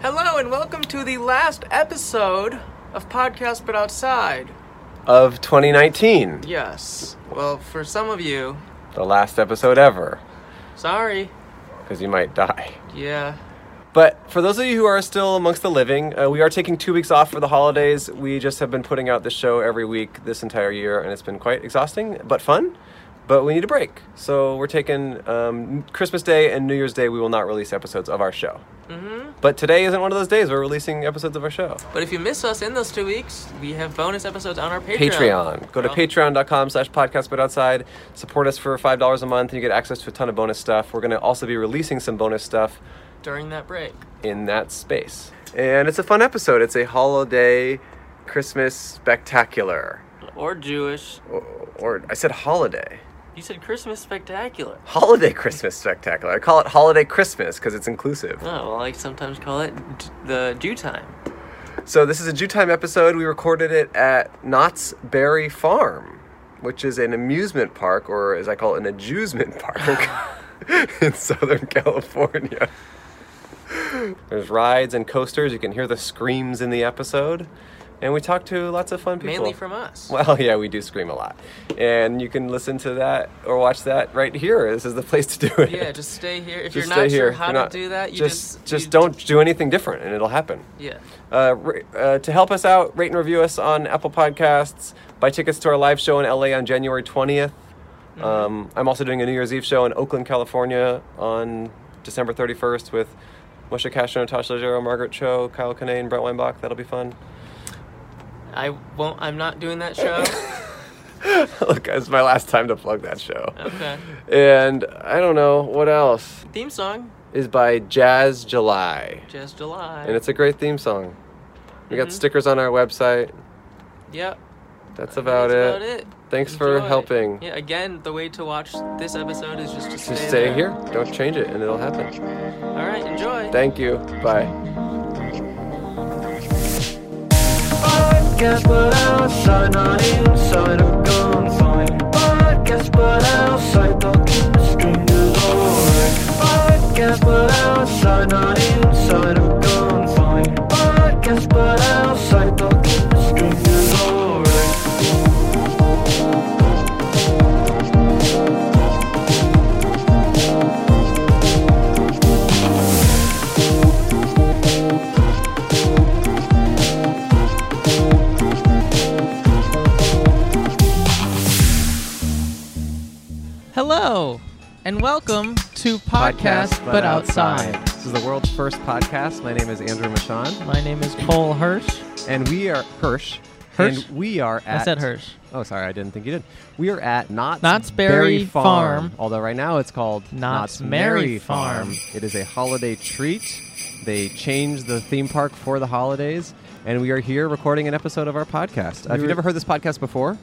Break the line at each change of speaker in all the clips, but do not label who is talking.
Hello and welcome to the last episode of Podcast But Outside.
of 2019,
Yes. Well, for some of you,
the last episode ever,
sorry.
because you might die.
Yeah.
But for those of you who are still amongst the living, uh, we are taking two weeks off for the holidays. We just have been putting out this show every week this entire year, and it's been quite exhausting but fun. But we need a break, so we're taking um, Christmas Day and New Year's Day. We will not release episodes of our show. But today isn't one of those days. We're releasing episodes of our show.
mm-hmm. But if you miss us in those two weeks, we have bonus episodes on our Patreon.
Patreon. Go to
Well,
patreon.com slash podcast but outside. Support us for $5 a month and you get access to a ton of bonus stuff. We're going to also be releasing some bonus stuff
During that break.
in that space. And it's a fun episode. It's a holiday Christmas spectacular.
Or Jewish.
Or, or I said holiday.
You said Christmas Spectacular.
Holiday Christmas spectacular. I call it holiday Christmas because it's inclusive.
Oh, well, I sometimes call it d- the Jew time.
So this is a Jew Time episode. We recorded it at Knott's Berry Farm, which is an amusement park, or as I call it, an adjusement park in Southern California. There's rides and coasters. You can hear the screams in the episode, and we talked to lots of fun people.
Mainly from us.
Well, yeah, we do scream a lot, and you can listen to that or watch that right here. This is the place to do it.
Yeah, just stay here. If you're
Just
not
stay
sure
here.
how
You're
to
not-
do that, you
just
just you-
don't do anything different, and it'll happen.
Yeah.
Uh, ra- uh, to help us out, rate and review us on Apple Podcasts. Buy tickets to our live show in LA on January 20th.
Mm-hmm.
Um, I'm also doing a New Year's Eve show in Oakland, California on December 31st with Moshe Castro, Natasha Leggero, Margaret Cho, Kyle Kinane, Brett Weinbach. That'll be fun.
I won't. I'm not doing that show.
Look, it's my last time to plug that show.
Okay.
And I don't know what else
Theme song,
is by Jazz July.
Jazz July.
And it's a great theme song. We
Mm-hmm.
got stickers on our website.
Yep.
That's about,
That's about
it.
it.
Thanks for
Enjoy.
helping.
Yeah, again, the way to watch this episode is just to stay,
Just stay
there.
here. Don't change it, and it'll happen.
All right, enjoy.
Thank you. Bye.
Podcast but outside, not inside, I'm gone fine. Podcast but outside, talking to strangers alright. Podcast but outside, not inside, I'm gone fine. Podcast but outside, talking to strangers alright.
Hello, and welcome to Podcast, but, outside.
This is the world's first podcast. My name is Andrew Michon,
My name is Cole Hirsch.
and we are Hirsch.
Hirsch?
And we are at.
I said Hirsch.
Oh, sorry, I didn't think you did. We are at Knott's,
Knott's Berry Farm.
Although right now it's called
Knott's
Merry
Merry Farm.
It is a holiday treat. They changed the theme park for the holidays, and we are here recording an episode of our podcast. Uh, if
were-
you've never heard this podcast before,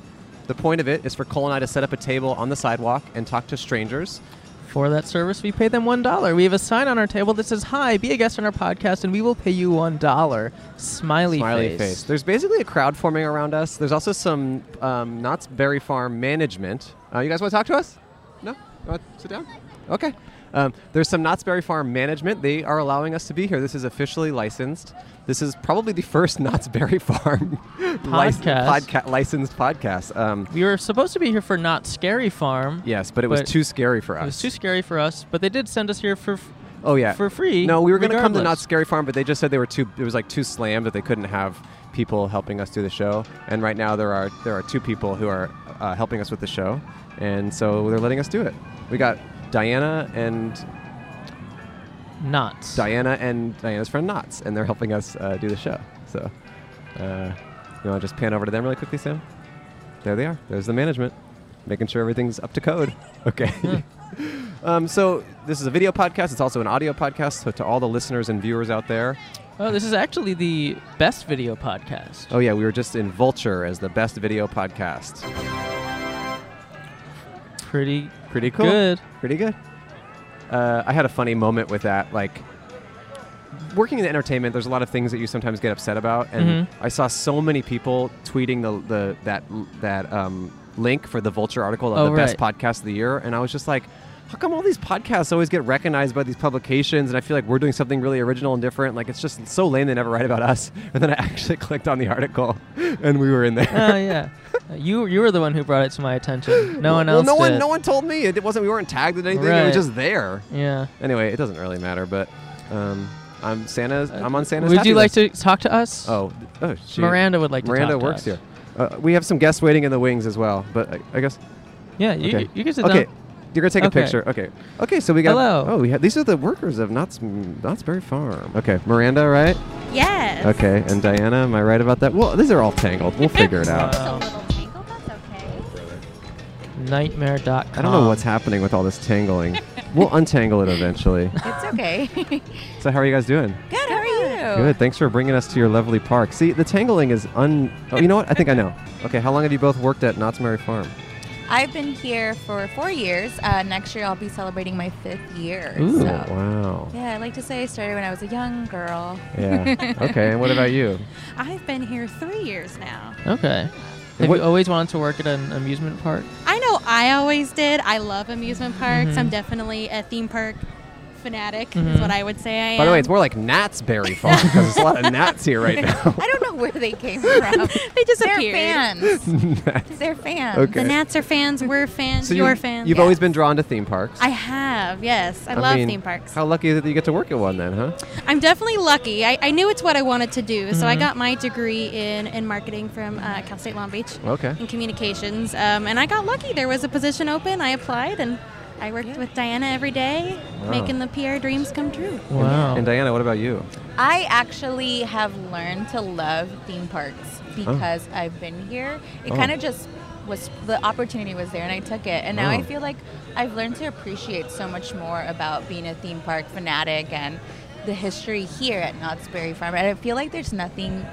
the point of it is for Cole and I to set up a table on the sidewalk and talk to strangers.
For that service, we pay them $1. We have a sign on our table that says, Hi, be a guest on our podcast, and we will pay you $1. Smiley,
Smiley face. There's basically a crowd forming around us. There's also some um, Knott's Berry Farm management. Uh, you guys want to talk to us? No? You want to sit down? Okay. Um, there's some Knott's Berry Farm management. They are allowing us to be here. This is officially licensed. This is probably the first Knott's Berry Farm lic-
Podcast.
podca- licensed podcast. Um,
We were supposed to be here for Not Scary Farm.
yes, but it was
But
too scary for us.
It was too scary for us, but they did send us here for. F-
Oh yeah,
for free,
No, we were going to come to Not
regardless.
Scary Farm, but they just said they were too. It was like too slammed that they couldn't have people helping us do the show. And right now there are there are two people who are uh, helping us with the show, and so they're letting us do it. We got Diana and
Not.
Diana and Diana's friend Knots, and they're helping us uh, do the show. So, uh, you want to just pan over to them really quickly, Sam? There they are. There's the management, making sure everything's up to code. Okay. um, so this is a video podcast. It's also an audio podcast. So to all the listeners and viewers out there,
Oh, this is actually the best video podcast.
oh yeah, we were just in Vulture as the best video podcast.
Pretty
Pretty cool.
good.
Pretty good. Uh, I had a funny moment with that. Like, working in entertainment, there's a lot of things that you sometimes get upset about, and
Mhm.
I saw so many people tweeting the, the that that um, link for the Vulture article of
Oh,
the best
right.
podcast of the year, and I was just like, how come all these podcasts always get recognized by these publications and I feel like we're doing something really original and different? Like it's just so lame they never write about us. And then I actually clicked on the article and we were in there.
Oh yeah, Uh, you you were the one who brought it to my attention. No one
well,
else.
no one
did.
no one told me. It wasn't we weren't tagged in anything. It
Right.
was just there.
Yeah.
Anyway, it doesn't really matter, but um, I'm Santa's I'm on Santa's
Uh, Would
happy
you like
list.
to talk to us?
Oh, th- oh shoot.
Miranda would like to.
Miranda
talk to
works here.
us.
Uh, we have some guests waiting in the wings as well, but I, I guess
Yeah, you,
Okay.
you can sit
okay.
down.
You're gonna take
Okay.
a picture. Okay. Okay. So we got.
Hello.
Oh, we ha- these are the workers of Knott's Knottsberry Farm. Okay, Miranda, right?
Yes.
Okay, and Diana, am I right about that? Well, these are all tangled. We'll figure it out.
Just a little tangled. That's okay.
Nightmare.com.
I don't know what's happening with all this tangling. we'll untangle it eventually.
It's okay. Good.
So how are you guys doing?
How are you?
Good. Thanks for bringing us to your lovely park. See, the tangling is un. Oh, you know what? I think I know. Okay. How long have you both worked at Knott's Berry Farm?
I've been here for four years. Uh, next year, I'll be celebrating my fifth year.
Ooh.
so-
Wow.
Yeah, I like to say I started when I was a young girl.
Yeah. Okay. And what about you?
I've been here three years now.
Okay. Have
What-
you always wanted to work at an amusement park?
I know I always did. I love amusement parks.
Mm-hmm.
I'm definitely a theme park fanatic, is what I would say I am.
By the way, it's more like Knott's Berry Farm because there's a lot of gnats here right now.
I don't know where they came from.
they
They're
disappeared.
fans. They're fans.
The
Okay.
Nats are fans. We're fans.
you,
you're fans.
You've always been drawn to theme parks.
I have, yes. I,
I
love
mean,
theme parks.
How lucky that you get to work at one then, huh?
I'm definitely lucky. I, I knew it's what I wanted to do, so
Mm-hmm.
I got my degree in, in marketing from uh, Cal State Long Beach
Okay.
in communications, um, and I got lucky. There was a position open. I applied, and I worked with Diana every day,
Wow.
making the PR dreams come true.
Wow.
And Diana, what about you?
I actually have learned to love theme parks because I've been here. It
Oh.
kind of just was the opportunity was there and I took it. And now
Oh.
I feel like I've learned to appreciate so much more about being a theme park fanatic and the history here at Knott's Berry Farm. And I feel like there's nothing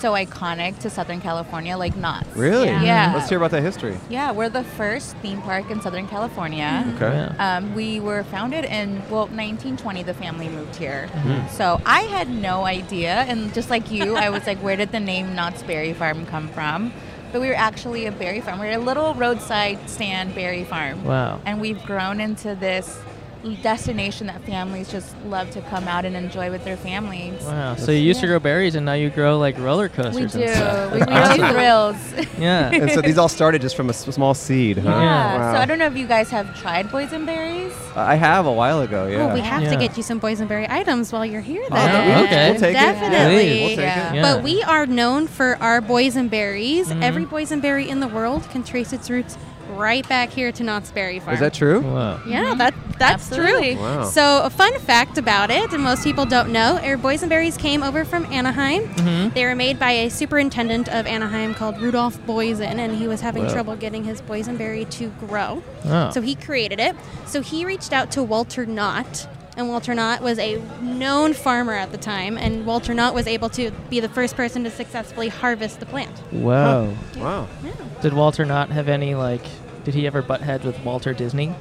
so iconic to Southern California like Knott's.
Really?
Yeah.
Yeah.
Let's hear about that history.
Yeah, we're the first theme park in Southern California.
Okay.
Yeah.
Um, we were founded in well 1920. The family moved here,
Mm-hmm.
so I had no idea. And just like you, I was like, "Where did the name Knott's Berry Farm come from?" But we were actually a berry farm. We were a little roadside stand berry farm.
Wow.
And we've grown into this destination that families just love to come out and enjoy with their families.
Wow. So you used to
Yeah.
grow berries, and now you grow like roller
We
coasters
do.
and stuff.
We
That's
really
awesome.
thrills.
Yeah.
And so these all started just from a s- small seed, huh?
Yeah.
Wow.
So I don't know if you guys have tried boysenberries.
I have a while ago, yeah.
Oh, we have
Yeah.
to get you some boysenberry items while you're here.
Oh,
Then.
yeah, okay. we'll
take it.
Definitely.
Please.
We'll take
Yeah.
it.
Yeah.
But we are known for our boysenberries.
Mhm.
Mm-hmm.
Every boysenberry in the world can trace its roots right back here to Knott's Berry Farm.
Is that true?
Wow.
Yeah, that that's
Absolutely.
true.
Wow.
So, a fun fact about it, and most people don't know, our boysenberries came over from Anaheim. They were made by a superintendent of Anaheim called Rudolph Boysen, and he was having
Wow.
trouble getting his boysenberry to grow.
Oh.
So he created it. So he reached out to Walter Knott, and Walter Knott was a known farmer at the time, and Walter Knott was able to be the first person to successfully harvest the plant.
Wow.
Wow.
Did Walter not have any like? Did he ever butt heads with Walter Disney?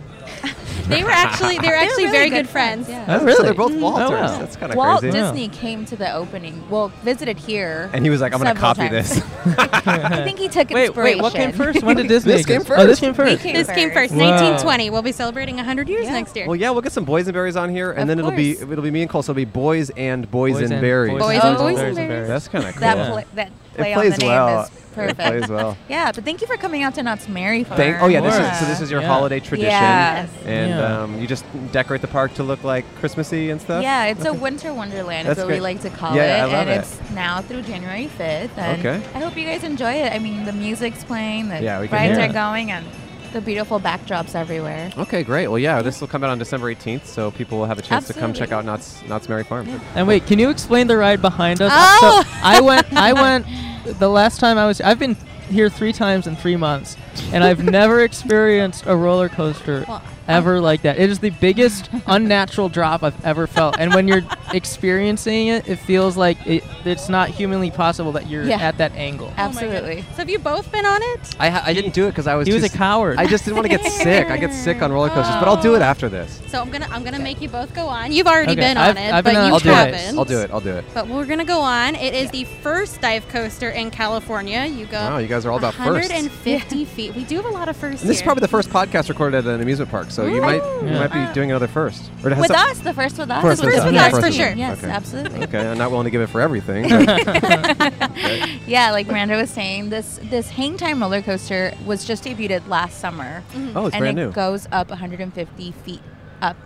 They were actually they were actually
really
very
good
good friends.
friends,
Oh,
So
really?
they're both Walters.
wow.
That's kind of
Walt
crazy.
Yeah.
Disney came to the opening. Well, visited here.
And he was like, I'm going to
several
copy
times.
this.
I think he took
Wait,
inspiration.
wait. What came first? When did Disney?
This came
exist? Oh, this
first.
came first.
came
This came first,
Wow.
1920. We'll be celebrating 100 years
Yeah.
next year.
Well, yeah, we'll get some boysenberries on here, and
Of
then it'll be
course.
it'll be me and Cole. So it'll be boys and
Boys
boysenberries.
and-
Boys and
Oh,
berries.
berries and
Boys and
berries.
That's kind of cool.
That,
Yeah.
pla- that
It
play on
plays
the name
well.
is
It
perfect.
plays well.
Yeah, but thank you for coming out to Knott's Merry Farm.
Thank, oh yeah, this
Yeah.
is so this is your
Yeah.
holiday tradition,
Yes.
and
Yeah.
um, you just decorate the park to look like Christmassy and stuff.
Yeah, it's a winter wonderland
That's
is what
great.
we like to call
Yeah,
it.
I love
and
it.
it's now through January 5th. And
Okay.
I hope you guys enjoy it. I mean, the music's playing, the
Yeah, we can
rides
hear
are
it.
going, and the beautiful backdrops everywhere.
Okay, great. Well, yeah, this will come out on December 18th, so people will have a chance to come check out
Absolutely.
Knott's Knott's Merry Farm.
And wait, can you explain the ride behind us?
Oh!
So I went. I went. The last time I was, I've been here three times in three months, and I've never experienced a roller coaster
Well,
ever like that. It is the biggest unnatural drop I've ever felt. And when you're experiencing it, it feels like it, it's not humanly possible that you're
Yeah.
at that angle.
Oh my goodness.
Absolutely.
so have you both been on it?
I, ha- I didn't do it because I was
He was
too
a
s-
coward.
I just didn't want to get sick. I get sick on roller coasters, but I'll do it after this.
So I'm gonna I'm gonna make you both go on. You've already
Okay,
been
I've-
on it,
I've
but
been on
you
I'll
it
do
twice.
haven't.
it. I'll do it. I'll do it.
But we're gonna go on. It is the first dive coaster in California. You go.
Wow, you guys are all about firsts.
150 feet. We do have a lot of firsts.
And this is
here.
probably the first podcast recorded at an amusement park, so you might you
Yeah.
might be doing another first. Or it has
With
some-
us, the first with us.
First
with us, yeah, for sure.
Yes,
Okay.
absolutely.
Okay, I'm not willing to give it for everything. but-
Yeah, like Miranda was saying, this this hang time roller coaster was just debuted last summer,
oh, it's
and
brand
it
new.
goes up 150 feet up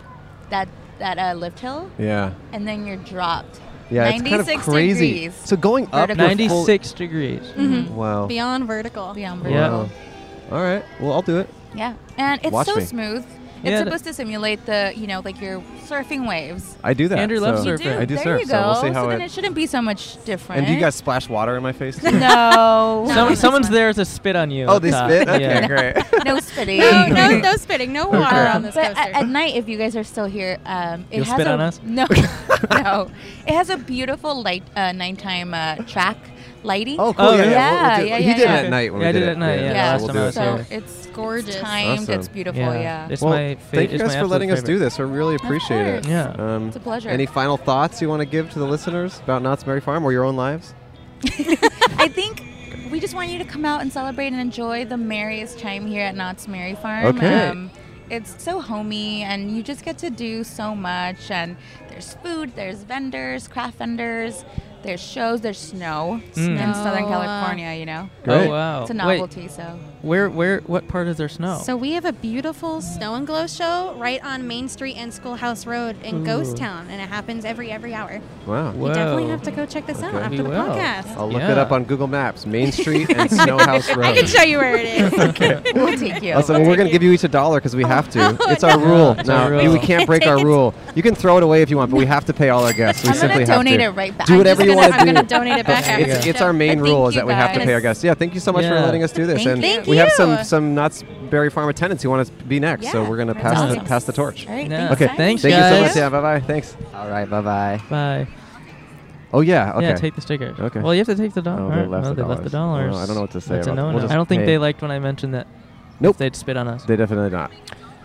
that that uh, lift hill,
yeah.
and then you're dropped.
Yeah, it's
96
kind of crazy.
degrees.
So going up,
Vertical. Mm-hmm.
you're full-
96 degrees.
Wow.
Mm-hmm. beyond vertical.
beyond
Yeah.
vertical.
All right. Well, I'll do it.
Yeah, and it's
Watch
so
me.
smooth. It's
Yeah, that-
supposed to simulate the you know like you're surfing waves.
I do that.
Andrew loves
so-
You surfing. do.
I do
there
surf,
you go.
so we'll see how
then
it.
it shouldn't be so much different.
and do you guys splash water in my face? too?
No.
Some, someone's there to spit on you.
oh,
up
they
top.
spit. Okay,
Yeah.
great.
No spitting.
No, no, no spitting. No water on this
But
coaster.
at, at night, if you guys are still here, um, it
You'll
has
spit
a,
on us?
No, no. It has a beautiful light uh, nighttime uh, track lighting.
Oh, cool.
Oh,
yeah,
yeah.
yeah,
Yeah,
we'll- we'll do-
yeah,
He
yeah,
did it
yeah.
at night when
Yeah,
we
I
did
did
it.
at night, yeah,
Yeah,
last
we'll
time
do it.
I was
so
here.
it's
Gorgeous.
It's timed.
Awesome.
It's beautiful.
Yeah.
Yeah.
It's
well,
my fa-
thank you
it's
guys
my
for letting us
absolute
do this. I really appreciate it.
course.
Yeah.
Um,
It's a pleasure.
Any final thoughts you want to give to the listeners about Knott's Berry Farm or your own lives?
I think we just want you to come out and celebrate and enjoy the merriest time here at Knott's Merry Farm. Um,
Okay.
it's so homey, and you just get to do so much. And there's food, there's vendors, craft vendors, there's shows, there's snow in Southern
Snow, uh,
California. You know,
Hmm. Great.
Oh wow!
it's a novelty. So
Wait, where where what part is there snow?
So we have a beautiful snow and glow show right on Main Street and Schoolhouse Road in Ghost Town, and it happens every every hour.
Wow.
You definitely
Whoa.
have to go check this out
Okay.
after
We
the
will.
podcast.
I'll look
Yeah.
it up on Google Maps. Main Street and Snowhouse Road.
I can show you where it is.
we'll take you.
Also, we're going to give you each a dollar because we have to.
Oh,
it's our
no.
rule.
It's
No,
our rule.
we can't break our rule. You can throw it away if you want, but we have to pay all our guests. We
I'm
simply
gonna
have
donate
to.
it right back.
Do
I'm
whatever you
just gonna-
want to
I'm
do.
gonna donate it back after
It's,
the
it's
show.
our main
But
rule
thank
is
you
that we have to pay our
guys.
guests. Yeah, thank you so much for
Yeah.
letting us do this. and
Thank you.
we have some
Thank you.
some Knott's Berry Farm attendants who want to be next, so
Yeah,
we're going to
that's
pass the
awesome.
pass the torch.
All right.
Yeah.
Okay,
Thanks,
thank you so much.
guys.
Yeah, bye bye. Thanks. All right, bye bye.
Bye.
Oh yeah. Okay.
Yeah, take the sticker.
Okay.
Well, you have to take the dollar.
Oh, they left the
they left the
dollars.
dollars.
Oh, I don't know what to say
That's a
about that.
no-no.
We'll just
I don't think
pay.
they liked when I mentioned that.
Nope.
They'd spit on us.
They definitely not.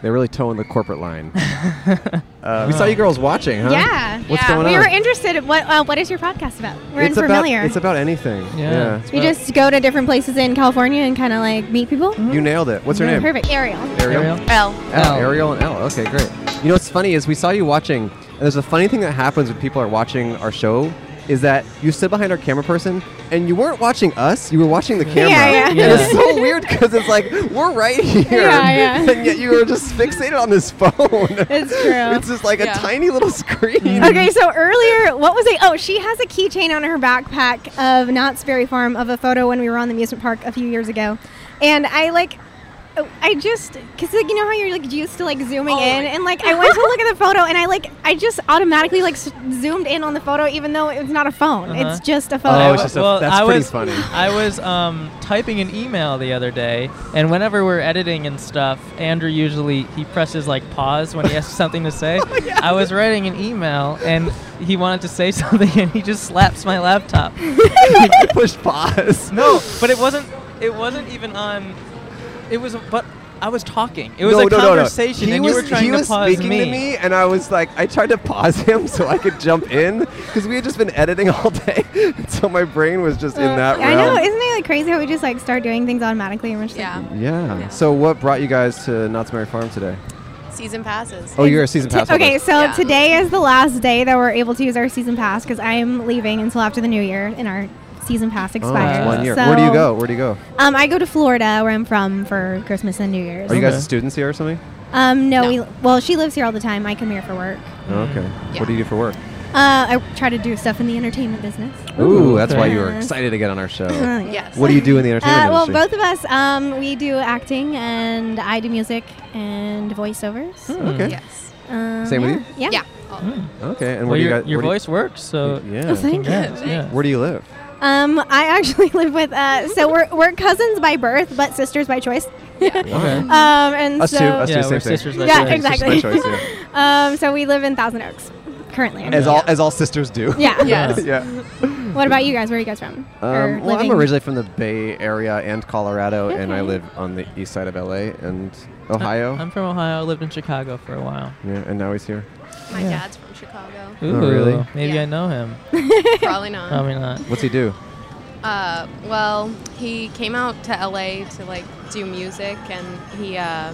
They're really towing the corporate line. Uh, we saw you girls watching, huh?
Yeah.
What's
yeah.
going
we
on?
were interested. In what uh, What is your podcast about? We're
it's
unfamiliar.
About, it's about anything.
Yeah.
Yeah.
you just go to different places in California and kind of like meet people. Mm-hmm.
You nailed it. What's her name?
Perfect. Ariel.
Ariel.
Ariel?
L.
L.
L.
Ariel and L. Okay, great. You know what's funny is we saw you watching, and there's a funny thing that happens when people are watching our show is that you stood behind our camera person and you weren't watching us, you were watching the camera.
yeah.
And it's so weird because it's like we're right here,
Yeah, yeah.
and yet you were just fixated on this phone.
It's true.
it's just like a tiny little screen.
Okay, so earlier, what was it? Oh, she has a keychain on her backpack of Knott's Berry Farm of a photo when we were on the amusement park a few years ago, and I like, oh, I just because like you know how you're like used to like
Oh,
zooming in, and like I went to look at the photo, and I like I just automatically like s- zoomed in on the photo, even though it's not a phone,
Uh-huh.
it's just a
Oh,
photo.
it's just a-
well,
that's
I
pretty
was,
funny.
I was um, typing an email the other day, and whenever we're editing and stuff, Andrew usually he presses like pause when he has something to say.
Oh,
I was writing an email, and he wanted to say something, and he just slaps my laptop.
Push pause.
No, but it wasn't. It wasn't even on. It was, but I was talking. It was
no,
a
no,
conversation,
no, no.
and
He
you
was,
were trying
he
to
was
pause
speaking
me.
to me, and I was like, I tried to pause him so I could jump in because we had just been editing all day, so my brain was just in that
Uh, I know,
realm.
isn't it like crazy how we just like start doing things automatically? And we're just
Yeah.
yeah. So, what brought you guys to Knott's Berry Farm today?
Season passes.
Oh, you're a season pass
Like, okay, so
Yeah.
today is the last day that we're able to use our season pass because I am leaving until after the new year, and our season pass
Oh,
expires.
it's one year.
So,
Where do you go? Where do you go?
Um, I go to Florida, where I'm from, for Christmas and New Year's.
Are you
Okay.
guys students here or something?
Um, no, we well, she lives here all the time. I come here for work.
Oh, okay. What do you do for work?
Uh, I try to do stuff in the entertainment business.
Ooh, that's why you were
Yes.
excited to get on our show.
yes.
What do you do in the entertainment
Uh, well,
industry?
both of us, um, we do acting, and I do music and voiceovers.
Oh, Okay.
Yes.
Um,
Same
yeah.
with you? Hmm.
Yeah.
Yeah. all of it.
Okay. And
Well,
where do you
your,
guys?
your
where do you-
voice works, so
Yeah.
Oh, thank you.
congrats, yeah.
Where do you live?
Um, I actually live with uh, so we're, we're cousins by birth, but sisters by choice.
Okay.
Um, and
Us
so
two. Us
Yeah,
two. Same
we're
thing.
sisters by
Yeah,
choice.
exactly.
Sisters by choice, yeah.
um, so we live in Thousand Oaks. currently. I
as
mean.
all as all sisters do.
Yeah.
Yes.
yeah.
What about you guys? Where are you guys from? Or
Um, well, I'm
living?
originally from the Bay Area and Colorado, and I
Okay.
live on the east side of LA and Ohio.
I'm from Ohio. I lived in Chicago for a while.
yeah, and now he's here.
My
Yeah.
dad's from Chicago.
Ooh,
Oh, really?
Maybe
Yeah.
I know him.
Probably not.
Um,
Probably not.
What's he do?
Uh, well, he came out to LA to like do music and he uh,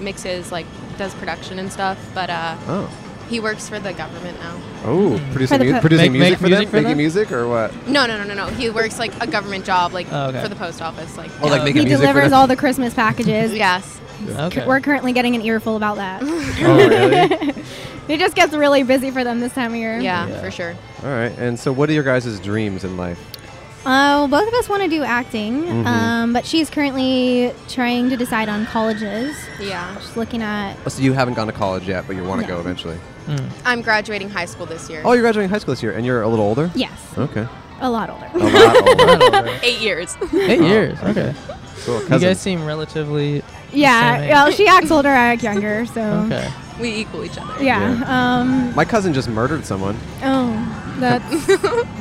mixes like does production and stuff. But uh,
Oh,
he works for the government now.
oh, producing,
the
mu-
po-
producing
Make-
music
make
for
music
them,
for
making
them?
music or what?
No, no, no, no, no. He works like a government job, like
Oh, okay.
for the post office, like. um,
Or Oh, like
Uh,
making
He
music for
delivers
them?
all the Christmas packages.
Yes.
Okay.
We're currently getting an earful about that.
oh, really?
it just gets really busy for them this time of year.
Yeah,
Yeah.
for sure.
All right. And so, what are your guys' dreams in life?
Uh, well, both of us want to do acting,
Mhm.
um, but she's currently trying to decide on colleges.
Yeah.
She's looking at.
Oh, so you haven't gone to college yet, but you want to
No.
go eventually.
Mm.
I'm graduating high school this year.
Oh, you're graduating high school this year, and you're a little older.
Yes,
Okay.
a lot older.
A lot older.
Eight years.
Eight years. Okay.
Oh. cool.
You
Cousin.
guys seem relatively.
yeah,
Same age.
well, she acts older, I act younger, so.
Okay.
we equal each other.
Yeah. Um,
My cousin just murdered someone.
oh, that's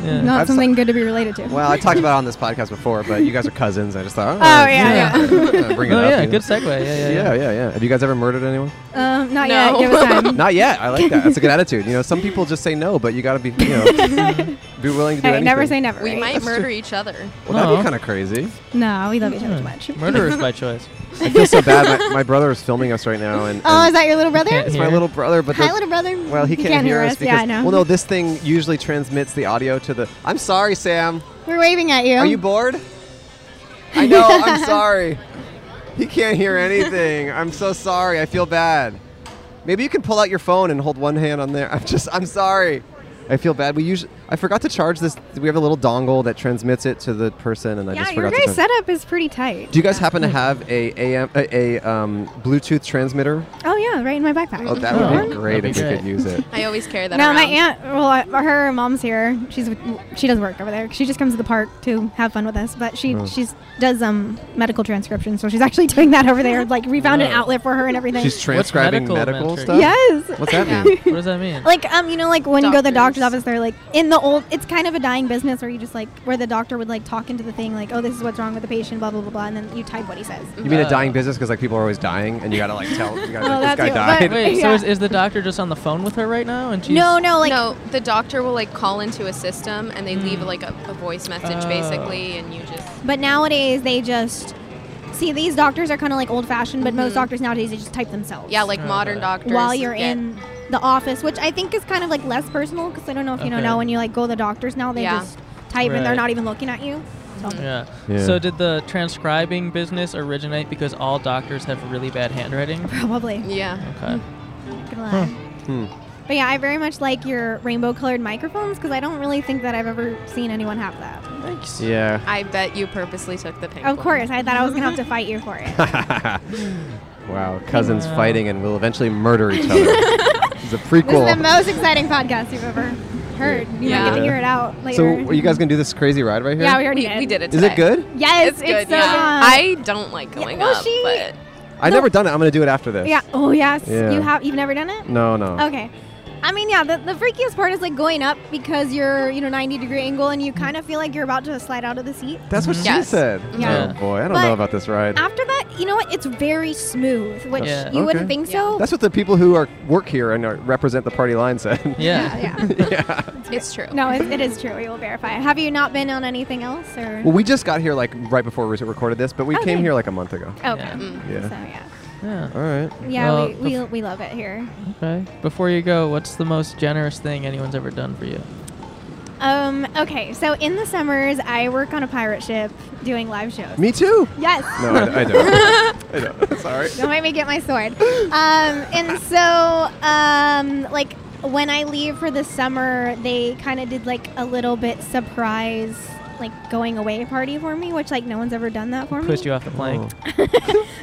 Yeah.
not
I've
something good to be related to.
Well, I talked about it on this podcast before, but you guys are cousins. I just thought.
oh, yeah, yeah.
yeah. Bring it
oh
up.
yeah.
you know?
Good segue. Yeah. Yeah. yeah.
Yeah, yeah, yeah. Have you guys ever murdered anyone?
Um, not
No.
yet. Give us time.
Not yet. I like that. That's a good attitude. You know, some people just say no, but you got to be, you know, be willing to do
hey,
anything.
never say never.
We
right?
might murder each other.
Well, that'd
Aw.
be kind of crazy.
No, we love each other too
Yeah.
much.
Murderers by choice.
I feel so bad. My, my brother is filming us right now, and,
Oh, is
and
that your little brother?
can't
it's
hear
my little brother. But
Hi,
the-
little brother.
well, he
You
can't, hear us because
Yeah, I know.
well, no, this thing usually transmits the audio to the. I'm sorry, Sam.
We're waving at you.
Are you bored? I know. I'm sorry. He can't hear anything. I'm so sorry. I feel bad. Maybe you can pull out your phone and hold one hand on there. I'm just. I'm sorry. I feel bad. We usually. I forgot to charge this. We have a little dongle that transmits it to the person, and I
yeah,
just
your
forgot
guys'
to. charge-
setup is pretty tight.
Do you guys happen to have a AM a, a um, Bluetooth transmitter?
Oh yeah, right in my backpack.
Oh, that
Oh,
would be
that'd
great
be
if you
great.
could use it.
I always carry that
No,
around.
my aunt. Well, uh, her mom's here. She's with- she does work over there. She just comes to the park to have fun with us. But she
Mm.
she's does um medical transcription, so she's actually doing that over there. Like we found an
Wow.
outlet for her and everything.
She's transcribing medical,
medical metric?
stuff.
yes.
What's that
Yeah.
mean?
What does that mean?
Like um, you know, like when you go to the doctor's
Doctors.
office, they're like in the old. It's kind of a dying business where you just like where the doctor would like talk into the thing, like oh this is what's wrong with the patient, blah blah blah, blah and then you type what he says.
You mean a
Uh,
dying business because like people are always dying and you gotta like tell you gotta,
Oh,
like, this
that's
guy
it.
died.
But-
Wait. So
Yeah.
is, is the doctor just on the phone with her right now? And she's
No, no, like
no, the doctor will like call into a system and they
Mm.
leave like a, a voice message
Oh.
basically, and you just
But nowadays they just see these doctors are kind of like old fashioned, but
Mm-hmm.
most doctors nowadays they just type themselves.
yeah, like
Oh,
modern
okay.
doctors.
while you're
get-
in the office, which I think is kind of like less personal because I don't know if you don't
Okay.
know when you like go to the doctors now they
Yeah.
just type and
Right. Mm.
they're not even looking at you. So.
Yeah.
Yeah.
So did the transcribing business originate because all doctors have really bad handwriting?
Probably.
Yeah.
Okay.
Not gonna lie.
Hmm.
But yeah, I very much like your rainbow colored microphones because I don't really think that I've ever seen anyone have that.
Thanks.
Yeah.
I bet you purposely took the pink. one.
Of course, I thought I was gonna have to fight you for it.
Wow, cousins
Wow.
fighting and will eventually murder each other. it's a
This is the
prequel.
most exciting podcast you've ever heard. You might get
Yeah.
to hear it out
So,
later.
are you guys gonna do this crazy ride right here?
yeah, we already
We, we did it.
Is
today.
it good?
Yes,
It's,
it's,
good.
so
yeah.
fun.
I don't like going
well,
up,
she-
but
I've never done it. I'm gonna do it after this.
Yeah. Oh yes.
Yeah.
You have. You've never done it.
No, no.
Okay. I mean, yeah. The, the freakiest part is like going up because you're you know 90 degree angle and you kind of feel like you're about to slide out of the seat.
That's what she
Yes. Mm-hmm.
said.
Yeah.
Oh boy, I don't
But
know about this ride.
After that, you know what? It's very smooth, which
Yeah.
you wouldn't
Okay.
think so.
That's what the people who are work here and are, represent the party line said.
Yeah.
yeah. yeah.
it's true.
no, it, it is true. We will verify. Have you not been on anything else or?
well, we just got here like right before we recorded this, but we came
Okay.
here like a month ago.
okay.
Yeah.
Mm.
So
Yeah.
yeah.
Yeah.
All right.
Yeah.
Well,
we, we, we love it here.
Okay. Before you go, what's the most generous thing anyone's ever done for you?
Um. Okay. So in the summers, I work on a pirate ship doing live shows.
Me too.
Yes.
No, I, I don't. I don't. Sorry.
Don't make me get my sword. Um, and so, um, like, when I leave for the summer, they kind of did like a little bit surprise, like going away party for me, which like no one's ever done that for
Pushed
me.
you off the
Oh.
plank.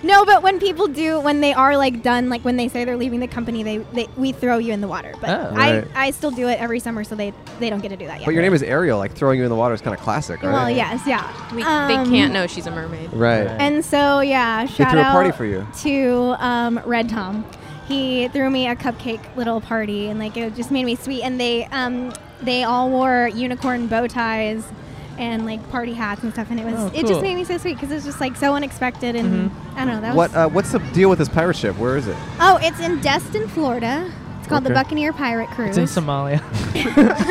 No, but when people do, when they are like done, like when they say they're leaving the company, they, they we throw you in the water. But
Oh.
Right.
I I still do it every summer, so they they don't get to do that yet.
But your name is Ariel. Like throwing you in the water is kind of classic, right?
well, yes, yeah.
We,
Um,
they can't know she's a mermaid.
Right.
Right.
And so yeah, shout
threw a
out
party for you.
to um, Red Tom. he threw me a cupcake little party, and like it just made me sweet. And they um, they all wore unicorn bow ties and like party hats and stuff, and it was
Oh,
it
cool.
just made me so sweet because it was just like so unexpected, and I don't know that
What?
was
Uh, what's the deal with this pirate ship? Where is it?
oh, it's in Destin, Florida. It's called the
Okay.
Buccaneer Pirate Cruise.
It's in Somalia.
Mm-hmm.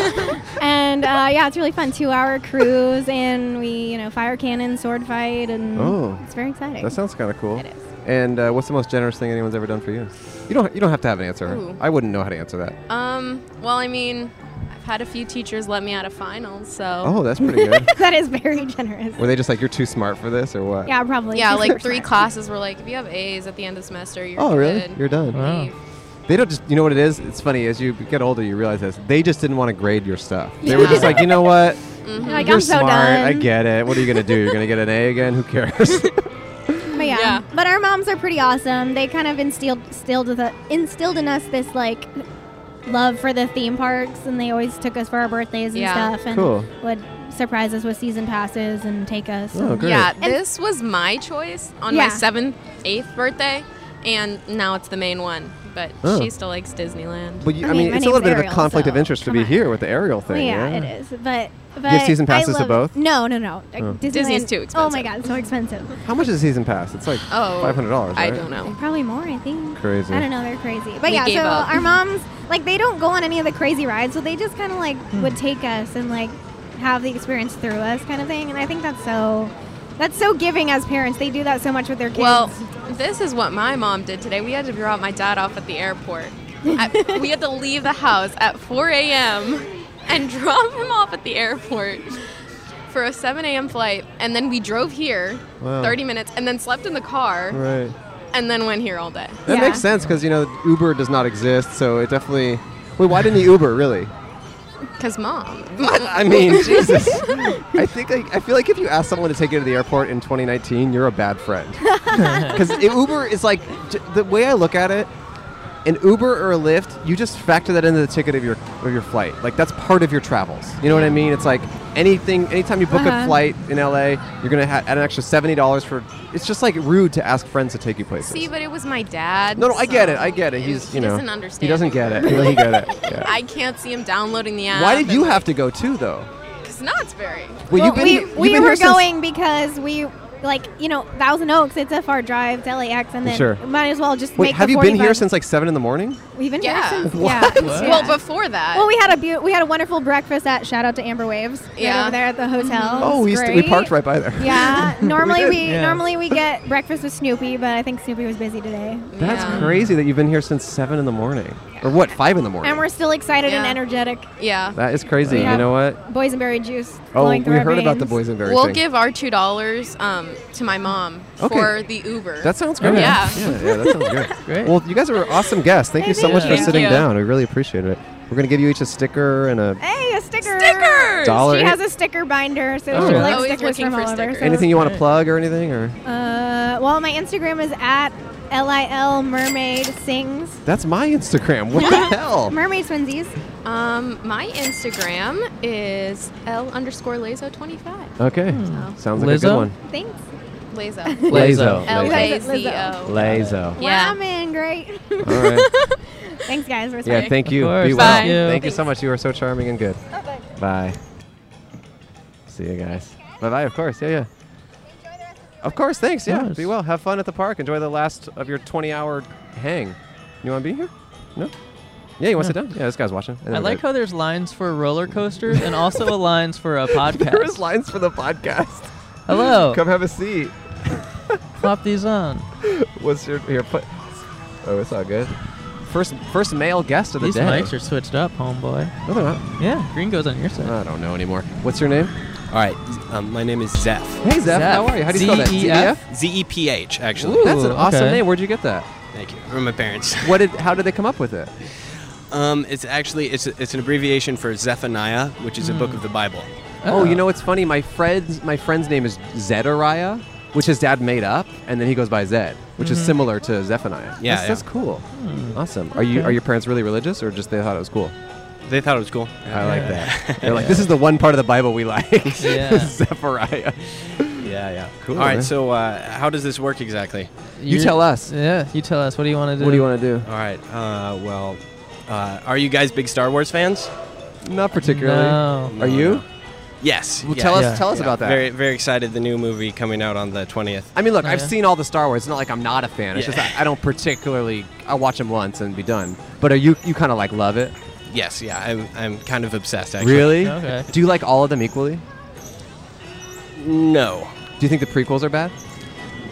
and uh, yeah, it's really fun. Two hour cruise, and we, you know, fire cannon, sword fight, and
Oh.
it's very exciting.
That sounds kind of cool.
It is.
And uh, what's the most generous thing anyone's ever done for you? You don't. You don't have to have an answer.
Ooh.
I wouldn't know how to answer that.
Um, well, I mean, I've had a few teachers let me out of finals, so.
Oh, that's pretty good.
that is very generous.
Were they just like you're too smart for this or what?
Yeah, probably.
Yeah,
She's
like
super
three
smart.
classes were like, if you have A's at the end of the semester, you're
Oh, really?
good.
You're done.
Wow.
Leave.
They don't just. You know what it is? It's funny. As you get older, you realize this. They just didn't want to grade your stuff. They were just
Yeah.
like, you know what?
You're Mm-hmm. Like,
you're
I'm
smart.
so done.
I get it. What are you gonna do? You're gonna get an A again? Who cares?
But yeah.
Yeah.
but our moms are pretty awesome. They kind of instilled instilled with us- instilled in us this like love for the theme parks, and they always took us for our birthdays and
Yeah.
stuff, and
Cool.
would surprise us with season passes and take us.
Oh,
and-
great.
Yeah, this was my choice on
Yeah.
my seventh, eighth birthday, and now it's the main one. But
Oh.
she still likes Disneyland.
But you, I
I mean,
mean,
my
it's a little
name's
bit of a
Ariel,
conflict of
so
interest to
come
be
on.
here with the aerial
Well,
thing.
yeah, it is. But, but
season passes
I
to
love-
both?
No, no, no. Like, Disneyland-
Disney's too
Oh my
expensive.
god, so expensive.
How much is a season pass? It's like
Oh,
five hundred dollars.
I don't know.
Probably more, I think.
Crazy.
I don't know, they're crazy. But
We
yeah,
gave
so
up.
our moms like they don't go on any of the crazy rides, so they just kind of like
Hmm.
would take us and like have the experience through us kind of thing, and I think that's so that's so giving as parents. They do that so much with their kids.
Well, this is what my mom did today. We had to drop my dad off at the airport. At- we had to leave the house at 4 a.m. and drop him off at the airport for a 7 a.m. flight. And then we drove here
Wow.
30 minutes and then slept in the car
Right.
and then went here all day.
That
Yeah.
makes sense because you know Uber does not exist, so it definitely. Wait, why didn't you Uber really?
Because mom.
I mean, Jesus. I think like, I feel like if you ask someone to take you to the airport in 2019, you're a bad friend. Because Uber is like j- the way I look at it. An Uber or a Lyft, you just factor that into the ticket of your of your flight. Like that's part of your travels. You know what I mean? It's like anything, anytime you book a
Uh-huh.
flight in LA, you're gonna ha- add an extra seventy dollars for. It's just like rude to ask friends to take you places.
See, but it was my dad.
no, no, I get it. I
so
get it.
he-
He's
he
you know
doesn't understand.
He doesn't get it. He doesn't get it. Yeah.
I can't see him downloading the app.
Why did you have to go too though?
Because Knott'sberry.
Well,
Well, we,
you've
we
been
were
here since-
going because we like you know Thousand Oaks. It's a far drive to LAX, and then
Sure.
might as well just
Wait,
make.
have
the
you been here
45
since like seven in the morning?
We've been
Yeah.
here since.
What?
Yeah.
What?
yeah.
Well, before that.
Well, we had a beau- we had a wonderful breakfast at shout out to Amber Waves right
Yeah. Mm-hmm.
over there at the hotel. It
Oh,
was
we, used to, we
great.
parked right by there.
Yeah, normally
did.
we,
Yeah.
normally we get breakfast with Snoopy, but I think Snoopy was busy today.
That's
yeah.
crazy that you've been here since seven in the morning, or what, five in the morning?
And we're still excited and
Yeah.
energetic.
Yeah.
that is crazy.
We
You
have-
know what?
Boysenberry juice.
Oh, we
flowing through our
heard about the
veins.
boysenberry
We'll
thing.
give our two dollars um, to my mom
Okay.
for the Uber.
that sounds great.
Yeah.
yeah, yeah, that sounds great.
Great.
Well, you guys are awesome guests. Thank you so
Thank
much for
you.
sitting
Thank you.
down. We really appreciate it. We're gonna give you each a sticker and a
Hey, a sticker.
Stickers!
Dollar.
She has a sticker binder, so
Oh.
she likes
Always
stickers
looking
from
for
all over.
stickers.
so-
anything you want to plug or anything or
Uh, well, my Instagram is at lil mermaid sings
that's my Instagram. What the hell?
mermaid swinsies.
Um, my Instagram is L underscore Lazo twenty five.
Okay, sounds like a good
Lizzo?
one.
Thanks.
Lazo. L A
Lazo.
Z O.
Lazo.
Yeah.
Wow, man, great.
All right.
Thanks, guys. We're
Yeah,
sorry. Oh,
thank you.
Of course.
Be well.
Thank you.
Thank you so much. You are so charming and good. Bye.
Bye-bye.
See you guys. Bye bye, of course. Yeah, yeah. Of course, thanks. Yeah,
Nice.
be well. Have fun at the park. Enjoy the last of your 20 hour hang. You want to be here? No? Yeah, you want to sit down? Yeah, this guy's watching. And then
I
we're
like
good.
how there's lines for a roller coaster and also a lines for a podcast.
There is lines for the podcast.
Hello.
Come have a seat.
Pop these on.
What's your. Here, put. Oh, it's all good. First first male guest of the
These
day.
mics are switched up, homeboy.
No, they're not.
Yeah, green goes on your side.
I don't know anymore. What's your name?
All right, um, my name is Zeph.
Hey, Zeph.
Zeph.
How are you? How do you spell that?
Z-E-F?
ZEF?
Z E P H, actually.
Ooh,
That's an awesome
okay.
name. Where'd you get that?
Thank you. From my parents.
What did? How did they come up with it?
Um, it's actually it's it's an abbreviation for Zephaniah, which is a book of the Bible.
Oh, you know what's funny? My friend's my friend's name is Zedariah, which his dad made up, and then he goes by Zed, which is similar to Zephaniah.
Mm-hmm. Yeah,
that's,
yeah. Hmm.
that's cool. Awesome. Are you
Okay.
are your parents really religious, or just they thought it was cool?
They thought it was cool.
I like that. They're like, this is the one part of the Bible we like.
Yeah.
Zephaniah.
Yeah, yeah.
Cool,
All right,
man.
so uh, how does this work exactly?
You tell us.
Yeah, you tell us. What do you want to do?
What do you want to
All right, uh, well, uh, are you guys big Star Wars fans?
do? Not particularly.
No.
Are you?
Yes.
Well,
yeah.
tell us.
Yeah.
Tell us
Yeah.
about that.
Very, very excited. The new movie coming out on the twentieth.
I mean, look,
Oh,
I've
yeah.
seen all the Star Wars. It's not like I'm not a fan. It's
Yeah.
just I, I don't particularly. I watch them once and be done. But are you? You kind of like love it?
Yes, yeah, I'm, I'm kind of obsessed. Actually.
Really?
Okay.
Do you like all of them equally? Do
No.
you think the prequels are bad?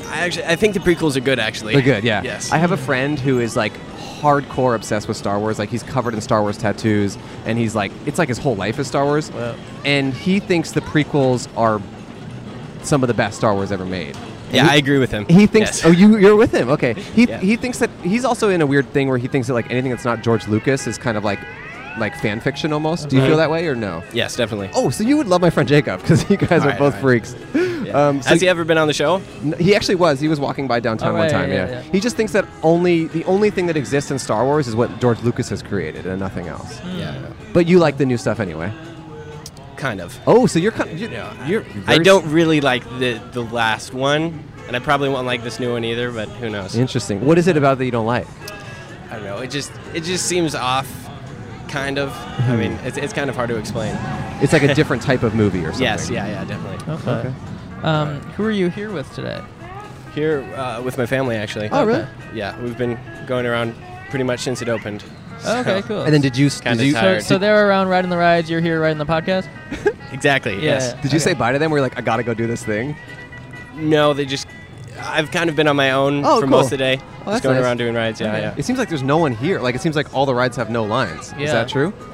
I actually, I think the prequels are good. Actually,
They're good. Yeah.
Yes.
I have a friend who is like hardcore obsessed with Star Wars. Like he's covered in Star Wars tattoos, and he's like, it's like his whole life is Star Wars.
Wow.
And he thinks the prequels are some of the best Star Wars ever made. And
yeah,
he-
I agree with him.
He thinks.
Yes.
Oh, you you're with him. Okay. He
Yeah.
he thinks that he's also in a weird thing where he thinks that like anything that's not George Lucas is kind of like like fan fiction almost. Do you
Mhm.
feel that way or no?
Yes, definitely.
Oh, so you would love my friend Jacob because you guys
All
are
right,
both
all right.
freaks.
Yeah.
Um, so
Has he ever been on the show?
n- he actually was. He was walking by downtown
Oh,
one
yeah,
time.
yeah,
Yeah,
yeah.
He just thinks that only the only thing that exists in Star Wars is what George Lucas has created and nothing else.
Hmm.
Yeah,
But you like the new stuff anyway.
kind of.
Oh, so you're kind. You're,
Yeah,
you're
I
very
don't really like the the last one, and I probably won't like this new one either. But who knows?
Interesting. What is it about that you don't like?
I don't know. It just it just seems off, kind of. I mean, it's, it's kind of hard to explain.
Mm-hmm. It's like a different type of movie or something.
Yes, yeah, yeah, definitely.
Okay. Um, who are you here with today?
Here uh, with my family, actually.
Oh, really?
Yeah, we've been going around pretty much since it opened. So-
Okay, cool.
And then did you? s-
Kinda
did you
tired.
so, so they're around riding the rides. You're here riding the podcast.
Exactly. Yes.
Did you say bye to them? We're like, I gotta go do this thing.
No, they just. I've kind of been on my own
Oh,
for
cool.
most of the day.
that's
just going
nice.
around doing rides. Yeah,
Okay.
It seems like there's no one here. Like it seems like all the rides have no lines. Is that
Yeah.
true?
yeah.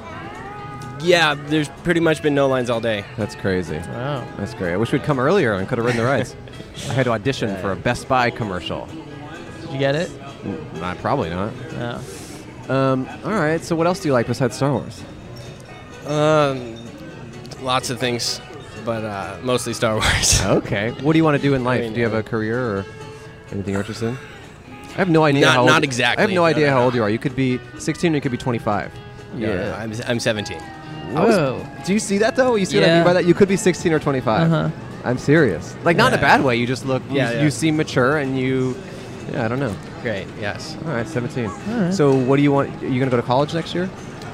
Yeah, there's pretty much been no lines all day.
That's crazy.
Wow.
That's great. I wish we'd come earlier and could have ridden the rides. I had to audition for a Best Buy commercial.
Did you get it?
Not probably not.
No.
Um, all right. So what else do you like besides Star Wars?
Um, lots of things, but uh, mostly Star Wars.
Okay. What do you want to do in life?
mean,
do you have
uh,
a career or anything you're interested in? I have no idea.
Not-
how old
not
you- I
exactly.
have no,
No,
idea
no,
how
no.
old you are. You could be 16 or you could be 25.
No, no, no, I'm, I'm 17.
I was-
Whoa.
do you see that though? You see what I mean
Yeah.
by that? You could be 16 or 25.
Uh-huh.
I'm serious. Like not in a
Yeah.
bad way. You just look. You,
Yeah, yeah.
you seem mature and you. Yeah, I don't know.
Great. Yes.
All right, 17. So what do you want? Are you gonna go to college next year?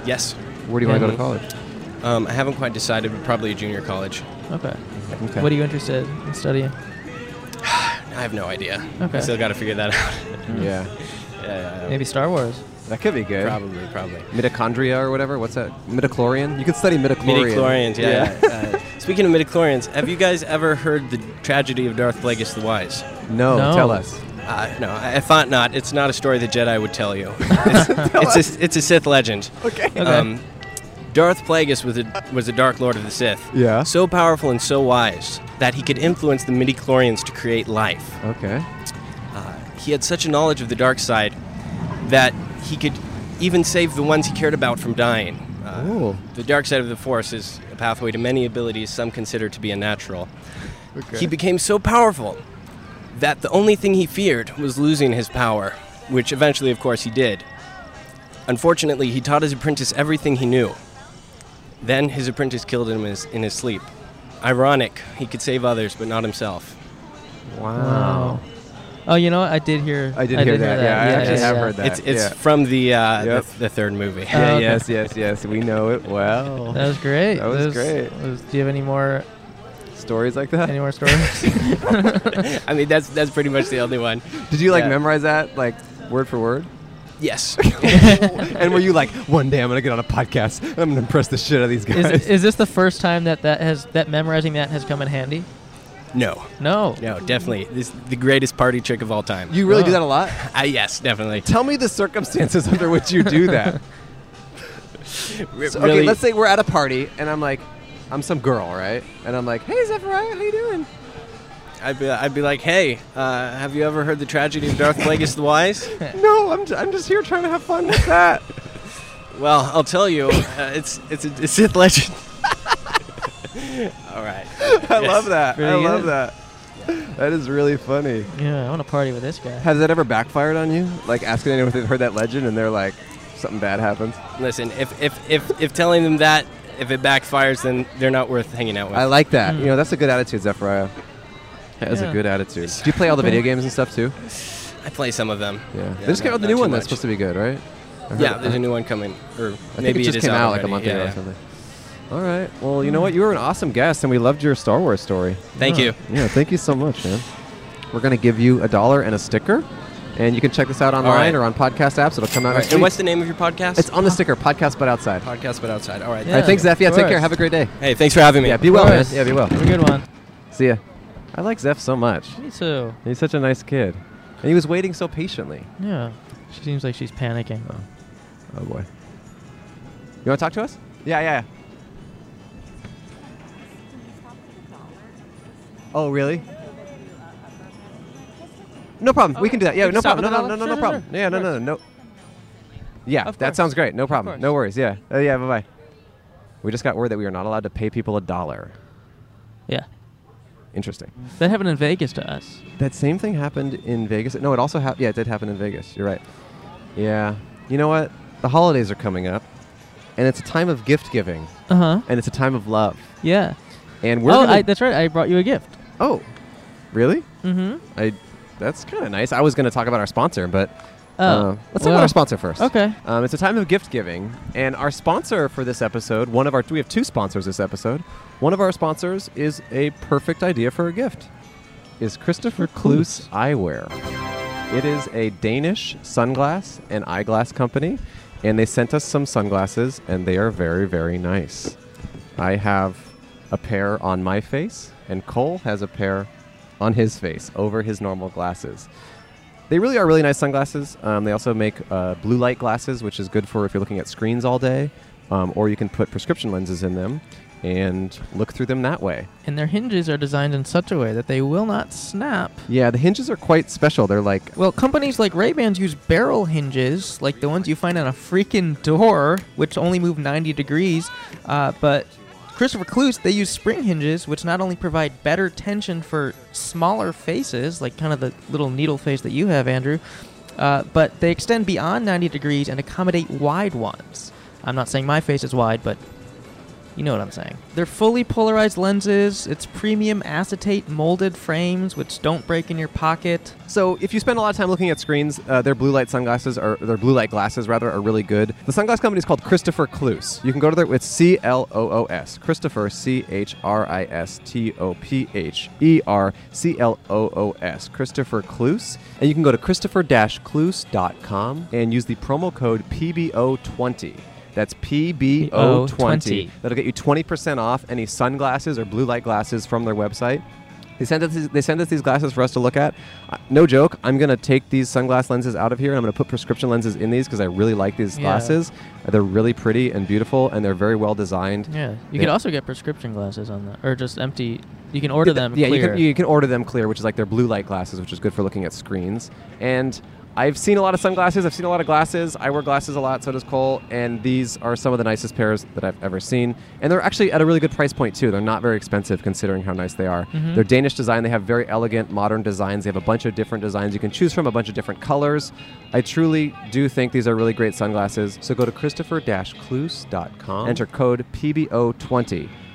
Yes.
Where do you want to go to
Mm-hmm.
Mhm.
college?
Um, I haven't quite decided, but probably junior college.
Okay.
Okay.
What are you interested in studying?
I have no idea.
Okay.
I still got to figure that out. yeah,
Yeah,
yeah, yeah.
Maybe Star Wars.
that could be good.
Probably, probably.
Mitochondria or whatever. What's that? Midichlorian. You could study midichlorian.
Midichlorians, yeah. yeah. uh, speaking of midichlorians, have you guys ever heard the tragedy of Darth Plagueis the Wise?
No,
No.
tell us.
Uh, no, I, I thought not. It's not a story the Jedi would tell you. It's, it's, a, it's a Sith legend.
Okay.
Um, Darth Plagueis was a, was a Dark Lord of the Sith.
Yeah.
So powerful and so wise that he could influence the midichlorians to create life.
Okay.
Uh, He had such a knowledge of the dark side that he could even save the ones he cared about from dying. Uh,
Ooh.
The dark side of the Force is a pathway to many abilities some consider to be unnatural. He became so powerful that the only thing he feared was losing his power, which eventually, of course, he did. Unfortunately, he taught his apprentice everything he knew. Then his apprentice killed him in his, in his sleep. Ironic, he could save others, but not himself.
Wow.
Oh, you know what? I did hear.
I did hear that. Yeah, I actually have heard that.
It's, it's
yeah.
from the, uh,
Yep.
the the third movie.
Yeah,
okay.
Yes, yes, yes. We know it well.
That was great.
That was great.
was- do you have any more
Stories like that.
any more stories?
I mean, that's that's pretty much the only one.
Did you like
Yeah.
memorize that like word for word?
Yes.
and were you like, one day I'm gonna get on a podcast and I'm gonna impress the shit out of these guys?
is, is this the first time that that has that memorizing that has come in handy?
no.
No.
No, definitely. This the greatest party trick of all time.
you really do
Oh.
that a lot?
Ah, yes, definitely.
Tell me the circumstances under which you do that.
R-
So,
really-
Okay, let's say we're at a party and I'm like, I'm some girl, right? And I'm like, hey, Zephyriah, how you doing?
I'd be, I'd be like, hey, uh, have you ever heard the tragedy of Darth Plagueis the Wise?
No, I'm, j- I'm just here trying to have fun with that.
Well, I'll tell you, uh, it's it's a, it's Sith legend. all right.
I love that. I
Pretty
love
good.
that. That is really funny.
Yeah, I want to party with this guy.
Has that ever backfired on you? Like asking anyone if they've heard that legend and they're like, something bad happens.
Listen, if if if if telling them that if it backfires, then they're not worth hanging out with.
Mm.
I like that. You know, that's a good attitude, Zephyriah. That is
Yeah.
a good attitude. Do you play all the video games and stuff too?
I play some of them.
Yeah.
Yeah,
they just came
not- not
out with the new
too
one that's
much.
supposed to be good, right? Uh-huh. I heard-
Yeah,
I
there's a new one coming, or
I think
maybe
it just
is
came
out
out like a
already.
month
Yeah,
ago
yeah.
or something. All right. Well, you know what? You were an awesome guest, and we loved your Star Wars story.
Thank you.
Yeah, thank you so much, man. We're gonna give you a dollar and a sticker, and you can check this out
right.
online or on podcast apps. It'll come out
All
next
right, and
week.
what's the name of your podcast?
it's on the sticker, podcast, but outside. All
podcast, but outside. All right.
Yeah.
right, thanks, Zeph. Yeah,
of
take care.
course.
Have a great day.
Hey, thanks for having me.
Yeah, be well,
Of
man.
course.
Yeah, be well.
Have a good one.
See ya. I like Zeph so much.
Me too.
He's such a nice kid, and he was waiting so patiently.
Yeah. She seems like she's panicking.
Oh boy. You want to talk to us? Yeah, yeah. Oh really? No problem. We can do that. Yeah,
We can
no
Oh, stop
problem.
at
No, no,
the
no, no, no
dollar? Sure,
problem.
sure,
Yeah, no, Oh, no, no, no. Yeah,
Of
that
course.
sounds great. No
course.
problem. No worries. Yeah. Uh, yeah. Bye bye. We just got word that we are not allowed to pay people a dollar.
Yeah.
Interesting.
That happened in Vegas to us.
That same thing happened in Vegas. No, it also happened. Yeah, it did happen in Vegas. You're right. Yeah. You know what? The holidays are coming up, and it's a time of gift giving,
Uh huh.
and it's a time of love,
Yeah.
and we're.
oh,
gonna-
I, that's right. I brought you a gift.
oh, really?
Mm-hmm.
I. That's kind of nice. I was going to talk about our sponsor, but
Oh.
uh, let's talk about
well,
our sponsor first.
Okay.
Um, it's a time of gift giving, and our sponsor for this episode, one of our, we have two sponsors this episode. One of our sponsors is a perfect idea for a gift, is Christopher Kloos Eyewear. It is a Danish sunglass and eyeglass company, and they sent us some sunglasses, and they are very, very nice. I have a pair on my face, and Cole has a pair on his face over his normal glasses. They really are really nice sunglasses. Um, they also make uh, blue light glasses, which is good for if you're looking at screens all day, um, or you can put prescription lenses in them and look through them that way.
And their hinges are designed in such a way that they will not snap.
Yeah, the hinges are quite special. They're like,
Well, companies like Ray-Bans use barrel hinges, like the ones you find on a freaking door, which only move 90 degrees. Uh, but Christopher Cluse, they use spring hinges, which not only provide better tension for smaller faces, like kind of the little needle face that you have, Andrew, uh, but they extend beyond 90 degrees and accommodate wide ones. I'm not saying my face is wide, but you know what I'm saying. They're fully polarized lenses. It's premium acetate molded frames, which don't break in your pocket.
So if you spend a lot of time looking at screens, uh, their blue light sunglasses or their blue light glasses rather are really good. The sunglass company is called Christopher Kloos. You can go to their it's C L O O S Christopher C H R I S T O P H E R C L O O S Christopher Kloos, and you can go to christopher-kloos.com and use the promo code PBO20. That's PBO20.
PBO20.
That'll get you 20% off any sunglasses or blue light glasses from their website. They sent us these, they sent us these glasses for us to look at. Uh, no joke, I'm gonna take these sunglass lenses out of here. and I'm gonna put prescription lenses in these because I really like these
Yeah.
glasses. Uh, They're really pretty and beautiful, and they're very well designed.
Yeah, you
They-
could also get prescription glasses on that, or just empty. You can order them.
Yeah, you
clear.
can, you can order them clear, which is like their blue light glasses, which is good for looking at screens. And I've seen a lot of sunglasses. I've seen a lot of glasses. I wear glasses a lot. So does Cole. And these are some of the nicest pairs that I've ever seen. And they're actually at a really good price point too. They're not very expensive considering how nice they are.
Mm-hmm.
They're Danish design. They have very elegant, modern designs. They have a bunch of different designs you can choose from, a bunch of different colors. I truly do think these are really great sunglasses. So go to christopher-cluse.com. Enter code PBO20.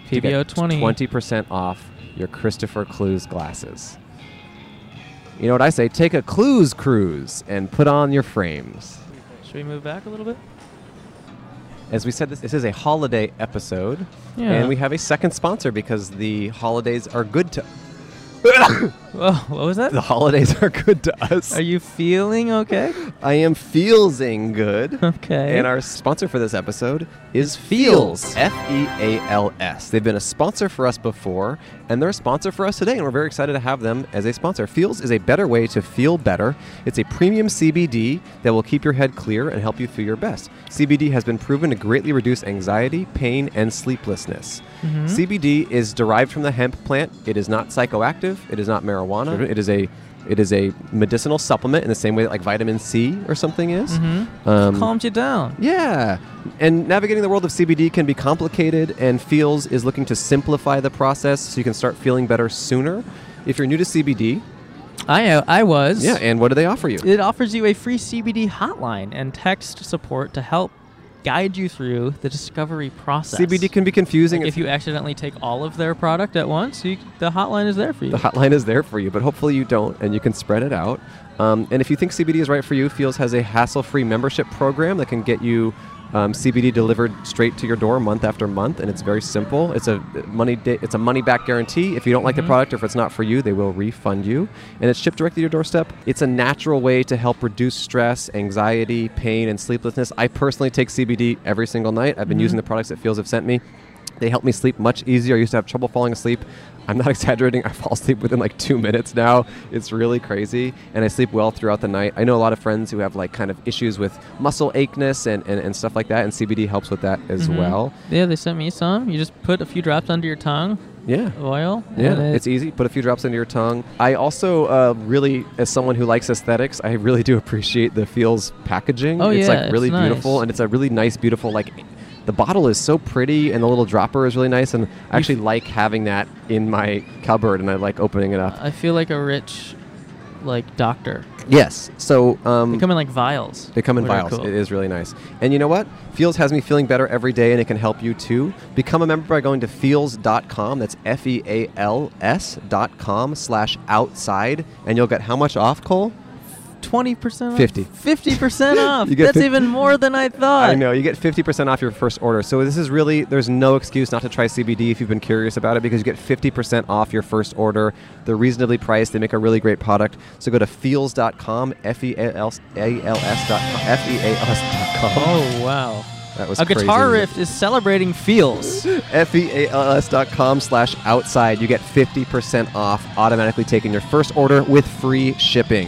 to get
PBO20.
20% off your Christopher Clues glasses. You know what I say? Take a Clues cruise and put on your frames.
Should we move back a little bit?
As we said, this, this is a holiday episode,
Yeah.
and we have a second sponsor because the holidays are good to
Whoa, what was
the
that?
holidays are good to us.
Are you feeling okay?
I am feelsing good.
Okay.
And our sponsor for this episode is
Feels.
Feels. F E A L S. They've been a sponsor for us before, and they're a sponsor for us today, and we're very excited to have them as a sponsor. Feels is a better way to feel better. It's a premium CBD that will keep your head clear and help you feel your best. CBD has been proven to greatly reduce anxiety, pain, and sleeplessness.
Mm-hmm.
CBD is derived from the hemp plant. It is not psychoactive, it is not marijuana, it is a it is a medicinal supplement in the same way that like vitamin C or something is. Um,
Mm-hmm. Calms you down.
yeah. And navigating the world of CBD can be complicated, and Feels is looking to simplify the process so you can start feeling better sooner. If you're new to CBD,
I uh, I was.
yeah, and what do they offer you?
It offers you a free CBD hotline and text support to help guide you through the discovery process.
CBD can be confusing.
Like
It's-
if you accidentally take all of their product at once, you, the hotline is there for you.
the hotline is there for you, but hopefully you don't, and you can spread it out. Um, and if you think CBD is right for you, Feels has a hassle-free membership program that can get you um, CBD delivered straight to your door month after month, and it's very simple. It's a money da- it's a money back guarantee. If you don't like
Mm-hmm.
the product or if it's not for you, they will refund you, and it's shipped directly to your doorstep. It's a natural way to help reduce stress, anxiety, pain, and sleeplessness. I personally take CBD every single night. I've been using the products that Feels have sent me. They help me sleep much easier. I used to have trouble falling asleep. I'm not exaggerating. I fall asleep within like two minutes now. It's really crazy. And I sleep well throughout the night. I know a lot of friends who have like kind of issues with muscle acheness and, and, and stuff like that. And CBD helps with that as
Mm-hmm.
well.
yeah, they sent me some. You just put a few drops under your tongue,
Yeah.
oil.
Yeah,
and it-
it's easy. Put a few drops into your tongue. I also uh, really, as someone who likes aesthetics, I really do appreciate the feels packaging.
Oh,
it's
yeah,
like really
it's nice.
beautiful, and it's a really nice, beautiful like. The bottle is so pretty, and the little dropper is really nice, and I actually like having that in my cupboard, and I like opening it up.
I feel like a rich, like doctor.
Yes. So um,
They come in like vials.
They come in
which are
vials.
cool.
It is really nice. And you know what? Feels has me feeling better every day, and it can help you too. Become a member by going to feels.com. That's F E A L S dot com slash outside, and you'll get how much off, Cole?
twenty percent.
50.
Fifty percent off.
You get
That's
fif-
even more than I thought.
I know. You get 50% off your first order. So this is really, there's no excuse not to try CBD if you've been curious about it because you get 50% off your first order. They're reasonably priced. They make a really great product. So go to feels.com, F E A L S dot F E A L S dot com.
Oh wow.
That was
A guitar
crazy.
riff is celebrating feels.
E F-E-A-L-S dot com slash outside. You get 50% off automatically taking your first order with free shipping.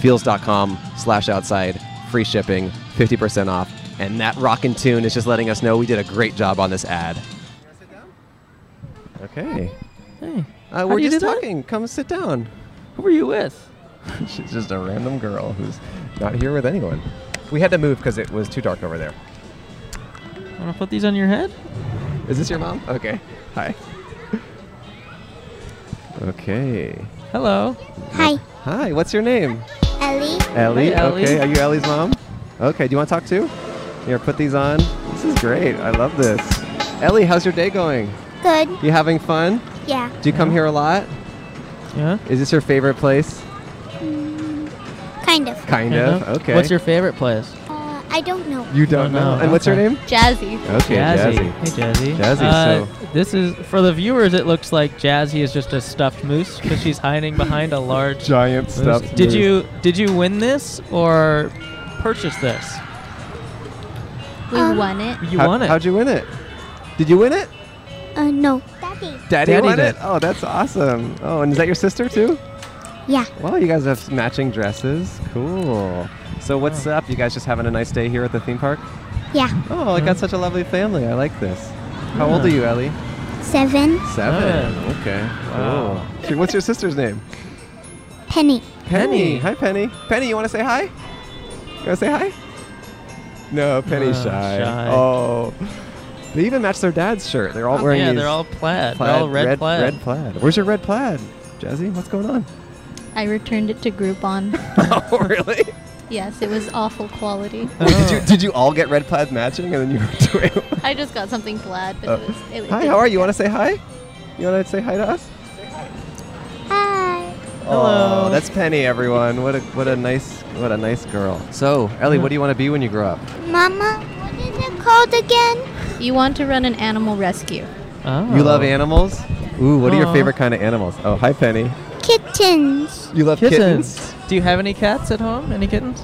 Feels.com slash outside, free shipping, 50% off. And that rockin' tune is just letting us know we did a great job on this ad. Okay.
hey,
Uh,
do
we're
you
just
do that?
talking. Come sit down.
who were you with?
She's just a random girl who's not here with anyone. We had to move because it was too dark over there.
Want to put these on your head?
Is this your mom? Okay. Hi. Okay.
Hello.
Hi,
Hi, what's your name?
Ellie.
Ellie.
Hey, Ellie.
Okay, are you Ellie's mom? Okay, do you want to talk too? Here, put these on. This is great. I love this. Ellie, how's your day going?
Good.
You having fun?
Yeah.
Do you come here a lot?
Yeah.
Is this your favorite place?
Kind of.
Kind
Hello.
of. Okay.
What's your favorite place?
Uh, I don't know.
You don't
Oh, no.
know. And what's your
Okay.
name?
Jazzy.
Okay, Jazzy.
Hey, Jazzy.
Jazzy,
Uh,
so-
this is for the viewers. It looks like Jazzy is just a stuffed moose because she's hiding behind a large
Giant
moose.
stuff.
Did you did you win this or purchase this?
We
Um,
won it.
You
How,
won it.
How'd you win it? Did you win it?
Uh, no. Daddy.
Daddy,
Daddy
won
did.
it. Oh, that's awesome. Oh, and is that your sister too?
Yeah.
Wow, you guys have matching dresses. Cool. So what's up? You guys just having a nice day here at the theme park?
Yeah.
Oh, I got such a lovely family. I like this. How old
Yeah.
are you, Ellie?
Seven.
Seven.
Seven.
Okay.
Wow.
Cool. So What's your sister's name?
Penny.
Penny. Hi, Penny. Penny, you want to say hi? You want to say hi? No, Penny's
Oh,
shy.
shy. Oh,
Oh. They even match their dad's shirt. They're all wearing
yeah,
these
they're all plaid. They're all red, plaid.
Red plaid. Where's your red plaid? Jazzy, what's going on?
I returned it to Groupon.
oh, really?
yes, it was awful quality.
Oh.
Did you did you all get red plaid matching and then you were doing?
I just got something plaid, but
Oh.
it was. It was
hi, how are you? You want to say hi? You want to say hi to us?
Hi.
Hello. Oh, that's Penny, everyone. What a what a nice what a nice girl. So, Ellie, what do you want to be when you grow up?
Mama, what is it called again?
You want to run an animal rescue?
Oh.
You love animals. Ooh, what are your
Aw.
favorite kind of animals? Oh, hi, Penny.
Kittens.
You love
kittens. Do you have any cats at home? Any kittens?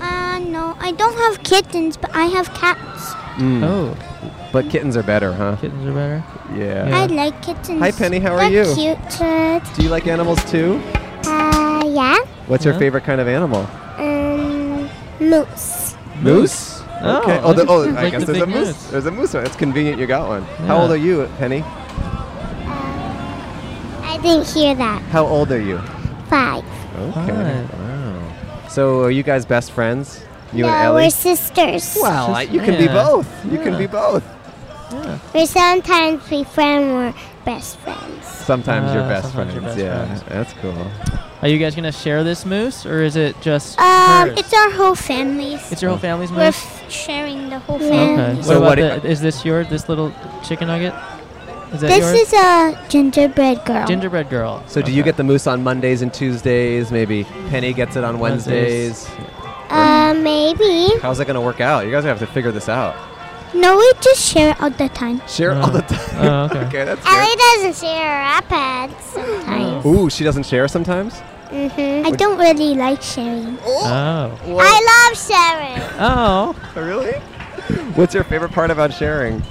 Uh, no. I don't have kittens, but I have cats.
Mm,
Oh,
But kittens are better, huh?
kittens are better.
Yeah.
Yeah.
I like kittens.
Hi, Penny, how are
They're
you?
Cute.
Do you like animals too?
Uh, yeah.
What's your
Yeah.
favorite kind of animal?
Um, moose.
Moose. Okay. Oh, the, oh
interesting.
I
Like
guess
the
there's a
big
moose.
moose.
There's a moose. It's convenient you got one. How
Yeah.
old are you, Penny?
I didn't hear that.
How old are you?
Five.
Okay.
Five.
Wow. So are you guys best friends? You
no,
and Ellie?
we're sisters.
Well, I- you can be
Yeah.
both. You can be both.
We're sometimes we friend, we're best friends.
Sometimes you're
Ah,
best
sometimes
friends.
you're
yeah,
best friends.
that's cool.
Are you guys gonna share this moose, or is it just
Um,
hers?
it's our whole families.
It's your whole family's
we're
moose.
f- sharing the whole
Okay.
family.
what
So
about
what i-
the, is this your this little chicken nugget? Is that
This
yours?
is a gingerbread girl.
gingerbread girl.
So do you
Okay.
get the moose on Mondays and Tuesdays? Maybe Penny gets it on Wednesdays.
Wednesdays.
uh, maybe.
How's that going to work out? You guys are gonna have to figure this out.
No, we just share it all the time.
Share all the time.
Oh, okay.
okay, that's
Ellie
good.
doesn't share her iPads sometimes.
Ooh, she doesn't share sometimes.
hmm I don't really like sharing.
Oh.
I love sharing.
Oh.
Really? What's your favorite part about sharing?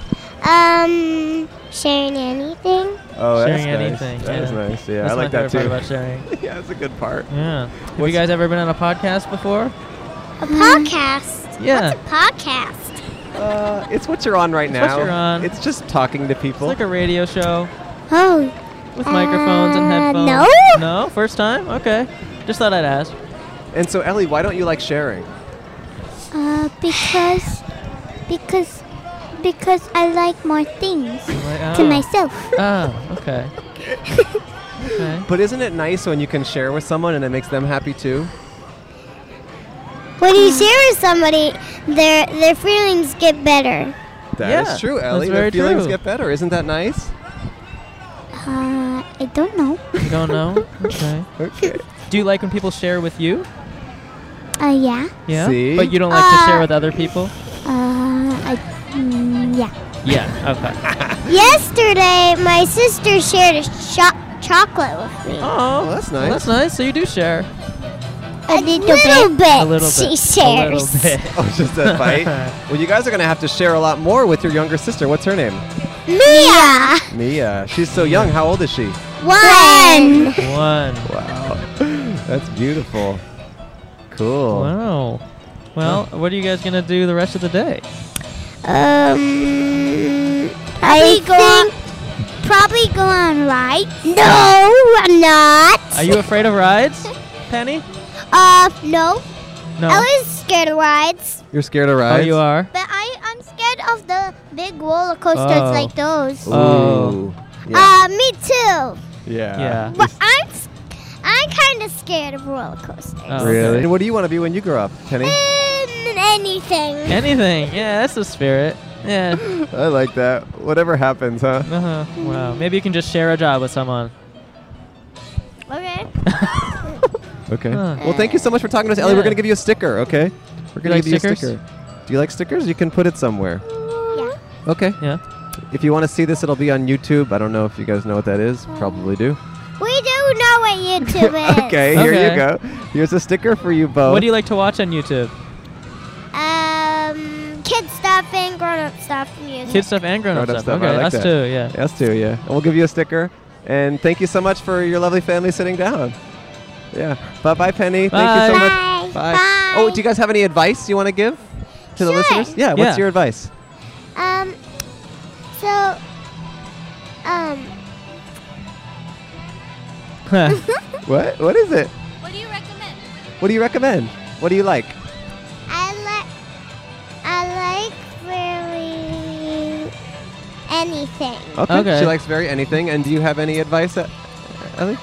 Um, sharing anything.
Oh, that's
sharing
nice.
anything.
That
yeah.
is nice. Yeah,
That's
I like
my
that too.
favorite Part about sharing.
yeah, that's a good part.
Yeah. Have
What's-
you guys ever been on a podcast before?
A podcast.
Um, Yeah.
What's a podcast?
Uh, it's what you're on right
It's what
now.
you're on.
It's just talking to people.
It's like a radio show
Oh,
with microphones and
Uh,
headphones.
no.
No? First time? Okay. Just thought I'd ask.
and so, Ellie, why don't you like sharing?
uh, because, because, because I like more things
Like,
to
oh.
myself.
Oh, okay. okay.
But isn't it nice when you can share with someone and it makes them happy too?
When
Hmm.
you share with somebody, their their feelings get better.
That is
Yeah,
true,
that's
Ellie. Their
very
feelings
true.
get better. Isn't that nice?
Uh, I don't know.
You don't know? Okay.
Okay.
Do you like when people share with you?
Uh, yeah.
Yeah.
See?
But you don't like to share
Uh,
with other people?
Uh, I, mm, yeah.
Yeah. Okay.
Yesterday, my sister shared a cho- chocolate with me.
Oh,
that's
well,
nice.
that's nice. So you do share.
A little, bit.
A little bit.
She
A
shares.
little bit.
Oh, just a fight. well, you guys are gonna have to share a lot more with your younger sister. What's her name?
Mia.
Mia. She's so young. How old is she?
One.
One.
Wow. That's beautiful. Cool.
Wow. Well, what are you guys gonna do the rest of the day?
Um, I go think probably go on right. No, I'm not.
Are you afraid of rides, Penny?
Uh, no.
No.
I was scared of rides,
You're scared of
Oh,
rides?
you are.
but I I'm scared of the big roller coasters
Oh.
like those.
Ooh.
Oh.
Yeah.
Uh, me too.
Yeah.
But I'm s- I'm kind of scared of roller coasters.
Oh,
Really?
okay.
And what do you want to be when you grow up, Penny?
Um, anything.
Anything. Yeah, that's the spirit. Yeah.
I like that. Whatever happens, huh?
Uh huh. Wow. Maybe you can just share a job with someone.
Okay.
Okay.
Huh.
Well, thank you so much for talking to us, Ellie. We're
Yeah.
gonna give you a sticker, okay? We're gonna
like
give
stickers?
you a sticker. Do you like stickers? You can put it somewhere.
Yeah.
Okay.
Yeah.
If you want to see this, it'll be on YouTube. I don't know if you guys know what that is.
Oh.
Probably do.
We do know what YouTube is.
Okay, here you
Okay.
go. Here's a sticker for you both.
What do you like to watch on YouTube?
Um, kid stuff and grown up stuff music.
Kid stuff and grown up
Grown-up
stuff.
stuff, I
Okay,
like
us
that.
too. Yeah.
Yes, too. Yeah, and we'll give you a sticker. And thank you so much for your lovely family sitting down. Yeah. Bye, bye, Penny. Thank you so
Bye.
Bye.
much. Oh, do you guys have any advice you want to give to the
Sure.
listeners? Yeah. What's
Yeah.
your advice?
Um, so, um,
What? What is it?
What do you recommend?
What do you recommend? What do you like?
I like I like really anything.
Okay.
Okay.
She likes very anything. And do you have any advice, uh, Ellie?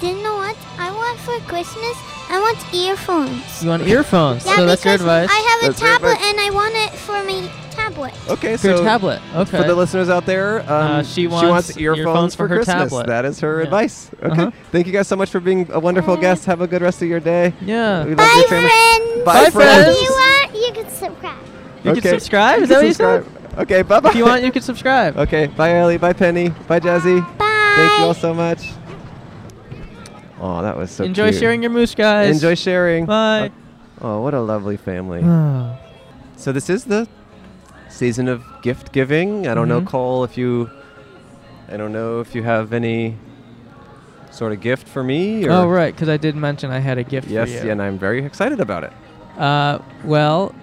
Do you know what I want for Christmas? I want earphones.
you want earphones.
Yeah,
so that's your
because
advice.
I have a
That's your
tablet
advice.
and I want it for my tablet.
Okay.
For
So
your tablet. Okay.
For the listeners out there, um,
Uh, she wants
earphones,
earphones
for,
for her
Christmas.
tablet.
That is her
Yeah.
advice. Okay.
Uh-huh.
Thank you guys so much for being a wonderful guest. Have a good rest of your day.
Yeah.
We love
Bye,
your family.
friends.
Bye,
Bye,
If
friends.
friends.
you want, you can subscribe.
You
Okay.
can subscribe.
You
Is
can
that what you said?
subscribe. Okay, bye bye.
If you want, you can subscribe.
Okay, bye Ellie, bye Penny, bye Jazzy.
Bye.
Thank you all so much. Oh, that was so
Enjoy
cute.
sharing your moose, guys.
Enjoy sharing.
Bye.
Oh, what a lovely family.
Oh.
So this is the season of gift giving. I don't know,
Mhm.
Cole, if you, I don't know if you have any sort of gift for me. Or
Oh right, because I did mention I had a gift
Yes,
for you.
and I'm very excited about it.
Uh, well,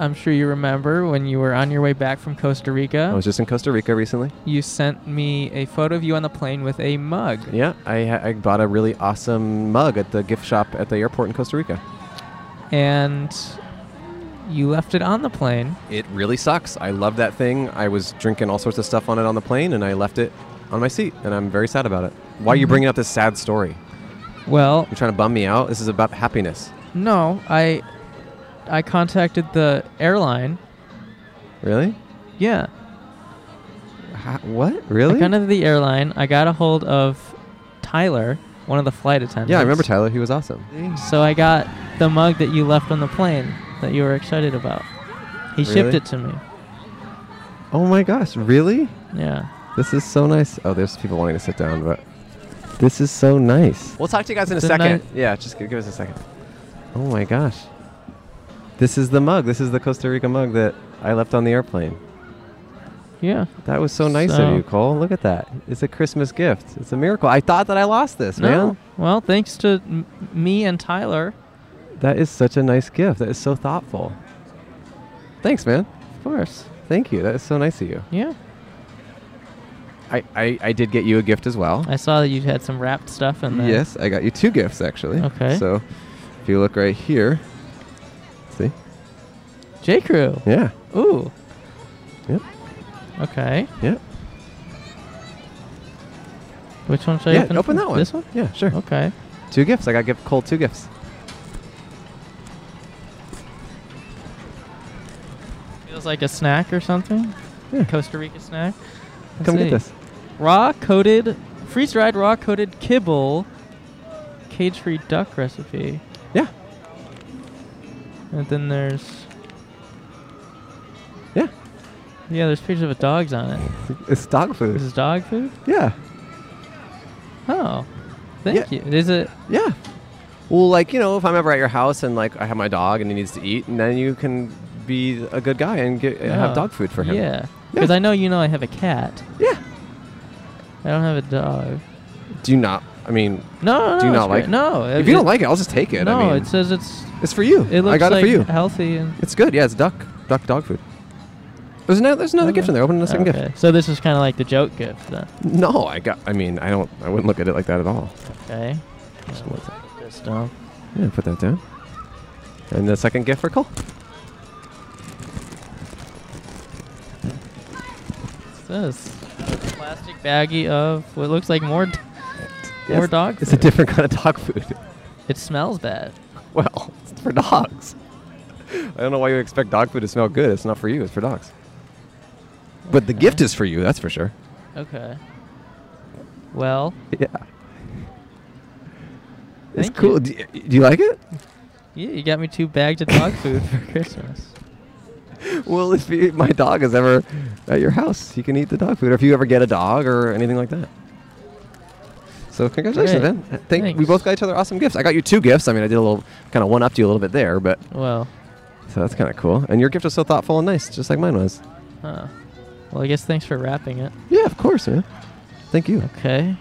I'm sure you remember when you were on your way back from Costa
I
Rica,
was just in Costa Rica recently.
you sent me a photo of you on the plane with a mug.
Yeah, I, ha- I bought a really awesome mug at the gift shop at the airport in Costa Rica.
And you left it on the plane.
It really sucks. I love that thing. I was drinking all sorts of stuff on it on the plane, and I left it on my seat, and I'm very sad about it. Why are you bringing up this sad story?
Well,
You're trying to bum me out. This is about happiness.
no, I I contacted the airline.
Really?
Yeah,
Ha- what? Really?
I contacted the airline. I got a hold of Tyler, one of the flight attendants.
yeah, I remember Tyler. He was awesome.
So I got the mug that you left on the plane that you were excited about. He shipped
Really?
it to me.
Oh my gosh, really?
Yeah.
This is so nice. Oh, there's people wanting to sit down, but this is so nice. We'll talk to you guys in a
It's a
second.
nice-
yeah, just give, give us a second. Oh my gosh. This is the mug. This is the Costa Rica mug that I left on the airplane.
Yeah.
That was so nice
So-
of you, Cole. Look at that. It's a Christmas gift. It's a miracle. I thought that I lost this,
No.
man.
Well, thanks to m- me and Tyler.
That is such a nice gift. That is so thoughtful. Thanks, man.
Of course.
Thank you. That is so nice of you.
Yeah.
I, I, I did get you a gift as well.
I saw that you had some wrapped stuff in there.
Yes, I got you two gifts actually.
Okay.
So if you look right here, see?
J. Crew.
Yeah.
Ooh.
Yep.
Okay.
Yep.
Which one should I
yeah.
open?
Open that one.
This one?
Yeah, sure.
Okay.
Two gifts. I got give Cole two gifts.
Feels like a snack or something.
Yeah.
Costa Rica snack. Let's
Come
see.
get this.
Raw coated, freeze dried raw coated kibble, cage free duck recipe.
Yeah.
And then there's.
Yeah.
Yeah, there's pictures of dogs on it.
It's dog
This
food.
is dog food?
Yeah.
Oh. Thank you. Is it.
Yeah. Well, like, you know, if I'm ever at your house and like I have my dog and he needs to eat, and then you can be a good guy and get, have
oh,
dog food for him.
Yeah.
Yeah.
Because I know you know I have a cat.
Yeah.
I don't have a dog.
Do you not I mean
No, no,
Do you
no,
not
it's
like
great.
it?
No.
if you don't like it, I'll just take it.
No,
I mean
it says it's.
it's for you.
It looks
I got
like
it for you.
healthy and.
It's good. Yeah, it's duck, duck dog food. There's another, there's another gift in there. Open the second
Okay. So this is kind of like the joke gift then.
gift. No, I got. I mean, I don't. I wouldn't look at it like that at all.
Okay.
Just
Uh,
want that.
This down.
Yeah, put that down. And the second gift for Cole.
What's this? Plastic baggie of what looks like more. D- More
Yes,
dog
It's a
food.
different kind of dog food.
it smells bad.
Well, it's for dogs. I don't know why you expect dog food to smell good. It's not for you. It's for dogs. But the gift is for you. That's for sure.
Okay. Well,
Yeah. It's
Thank you.
cool. Do, y- do you like it?
yeah, you got me two bags of dog food for Christmas.
Well, if you, my dog is ever at your house, he can eat the dog food, or if you ever get a dog or anything like that. So congratulations,
Great.
man! I Think we
Thanks.
both got each other awesome gifts. I got you two gifts. I mean, I did a little kind of one up to you a little bit there, but
Well,
so that's kind of cool. And your gift was so thoughtful and nice, just like mine was.
huh. Well, I guess thanks for wrapping it.
Yeah, of course, man. Thank you.
Okay.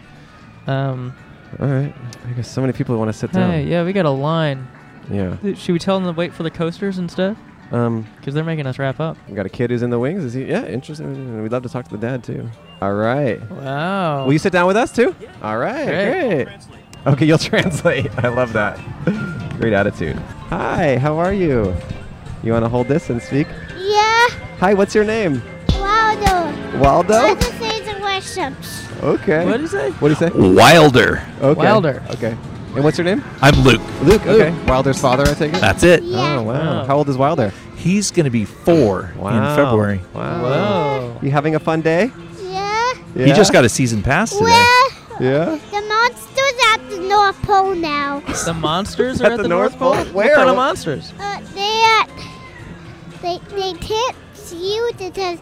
Um.
All right. I guess so many people want to sit
Hey, yeah, we got a line.
down. um, Yeah.
Th- Should we tell them to wait for the coasters instead?
Um,
Because they're making us wrap up.
we got a kid who's in the wings. Is he? Yeah, interesting. We'd love to talk to the dad too. All right.
Wow.
Will you sit down with us too? All right,
Great.
great. Okay, you'll translate. I love that. great attitude. Hi, how are you? You want to hold this and speak?
Yeah,
Hi, what's your name?
Waldo.
Waldo?
Let's say the workshops.
Okay.
what is it?
What do you say?
Wilder.
Okay.
Wilder.
Okay. And what's your name?
I'm Luke.
Luke. Okay. Wilder's father, I take it?
That's it.
Yeah.
Oh, wow.
Wow.
How old is Wilder?
He's going to be four
Wow.
in February.
Wow.
Whoa.
You having a fun day?
Yeah.
He just got a season pass today.
Well,
Yeah.
the monster's at the North Pole now.
The monsters are at,
the North Pole?
What
Where?
kind of
What-
monsters?
Uh, they at, they they can't see you because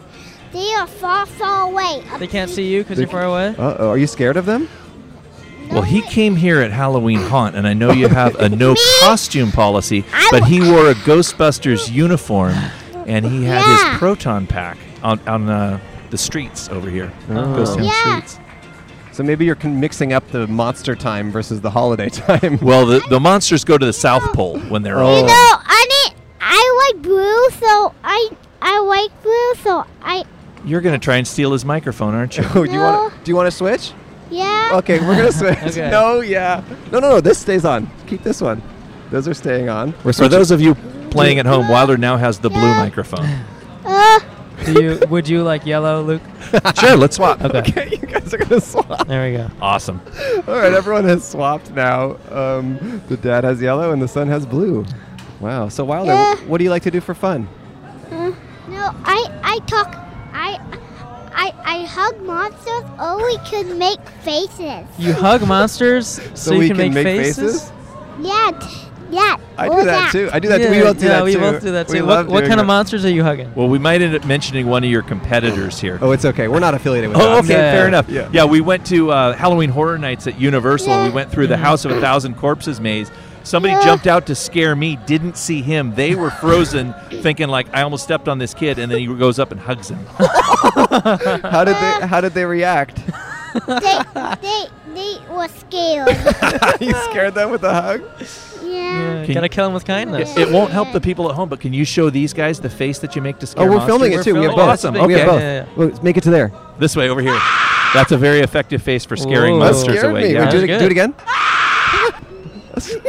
they are far, far away. Uh, Up
They can't
to-
see you because you're far away?
Uh oh. Are you scared of them?
no
Well, he
one-
came here at Halloween Haunt, and I know you have a no costume policy,
I
but
w-
he wore a Ghostbusters uniform, and he had
Yeah.
his proton pack on, on uh, the streets over here.
Oh.
Ghost Town
Yeah.
streets.
So maybe you're con- mixing up the monster time versus the holiday time.
Well, the, the monsters go to the South Pole when they're
Oh.
You
all.
know, I need, I like blue, so I I like blue, so I
You're going to try and steal his microphone, aren't you?
Oh, do you
No.
want to do you want to switch?
yeah.
Okay, we're gonna switch.
Okay.
No, yeah. No, no, no. This stays on. Keep this one. Those are staying on. We're
For those of you playing at home, Wilder now has the blue
Yeah.
microphone.
Uh,
Do you, would you like yellow, Luke?
sure, let's swap.
Okay.
okay, you guys are gonna swap.
There we go.
Awesome.
All right, everyone has swapped now. Um, the dad has yellow and the son has blue. Wow. So Wilder,
Yeah.
wh- what do you like to do for fun?
Uh, no, I I talk I I I hug monsters or we could make faces.
You hug monsters so, you
we
can,
can
make,
make
faces?
faces?
Yeah, t- yeah.
I
or
do that too. I do that. too. We
Yeah,
both do
yeah,
that
we
too.
both do that
We
too.
love
What, what
doing
kind of
that.
monsters are you hugging?
Well, we might end up mentioning one of your competitors here.
Oh, it's okay. We're not affiliated with.
Oh,
them.
okay, fair enough.
Yeah.
Yeah. we went to uh, Halloween Horror Nights at Universal. We went through the House of a Thousand Corpses maze. Somebody jumped out to scare me. Didn't see him. They were frozen, thinking like I almost stepped on this kid, and then he goes up and hugs him.
How did they? How did they react?
They they they were scared.
you scared them with a hug?
Yeah.
Can-
Gotta kill him with kindness.
It, it won't help the people at home, but can you show these guys the face that you make to scare?
Oh, we're
monsters?
filming it too. We have
Oh,
both.
Awesome.
We
Okay.
have both.
Yeah,
Well, Make it to there.
This way over here. That's a very effective face for scaring
Whoa. That
monsters
scared
away.
me.
Yeah.
Wait, do,
That was
it,
good.
do it again.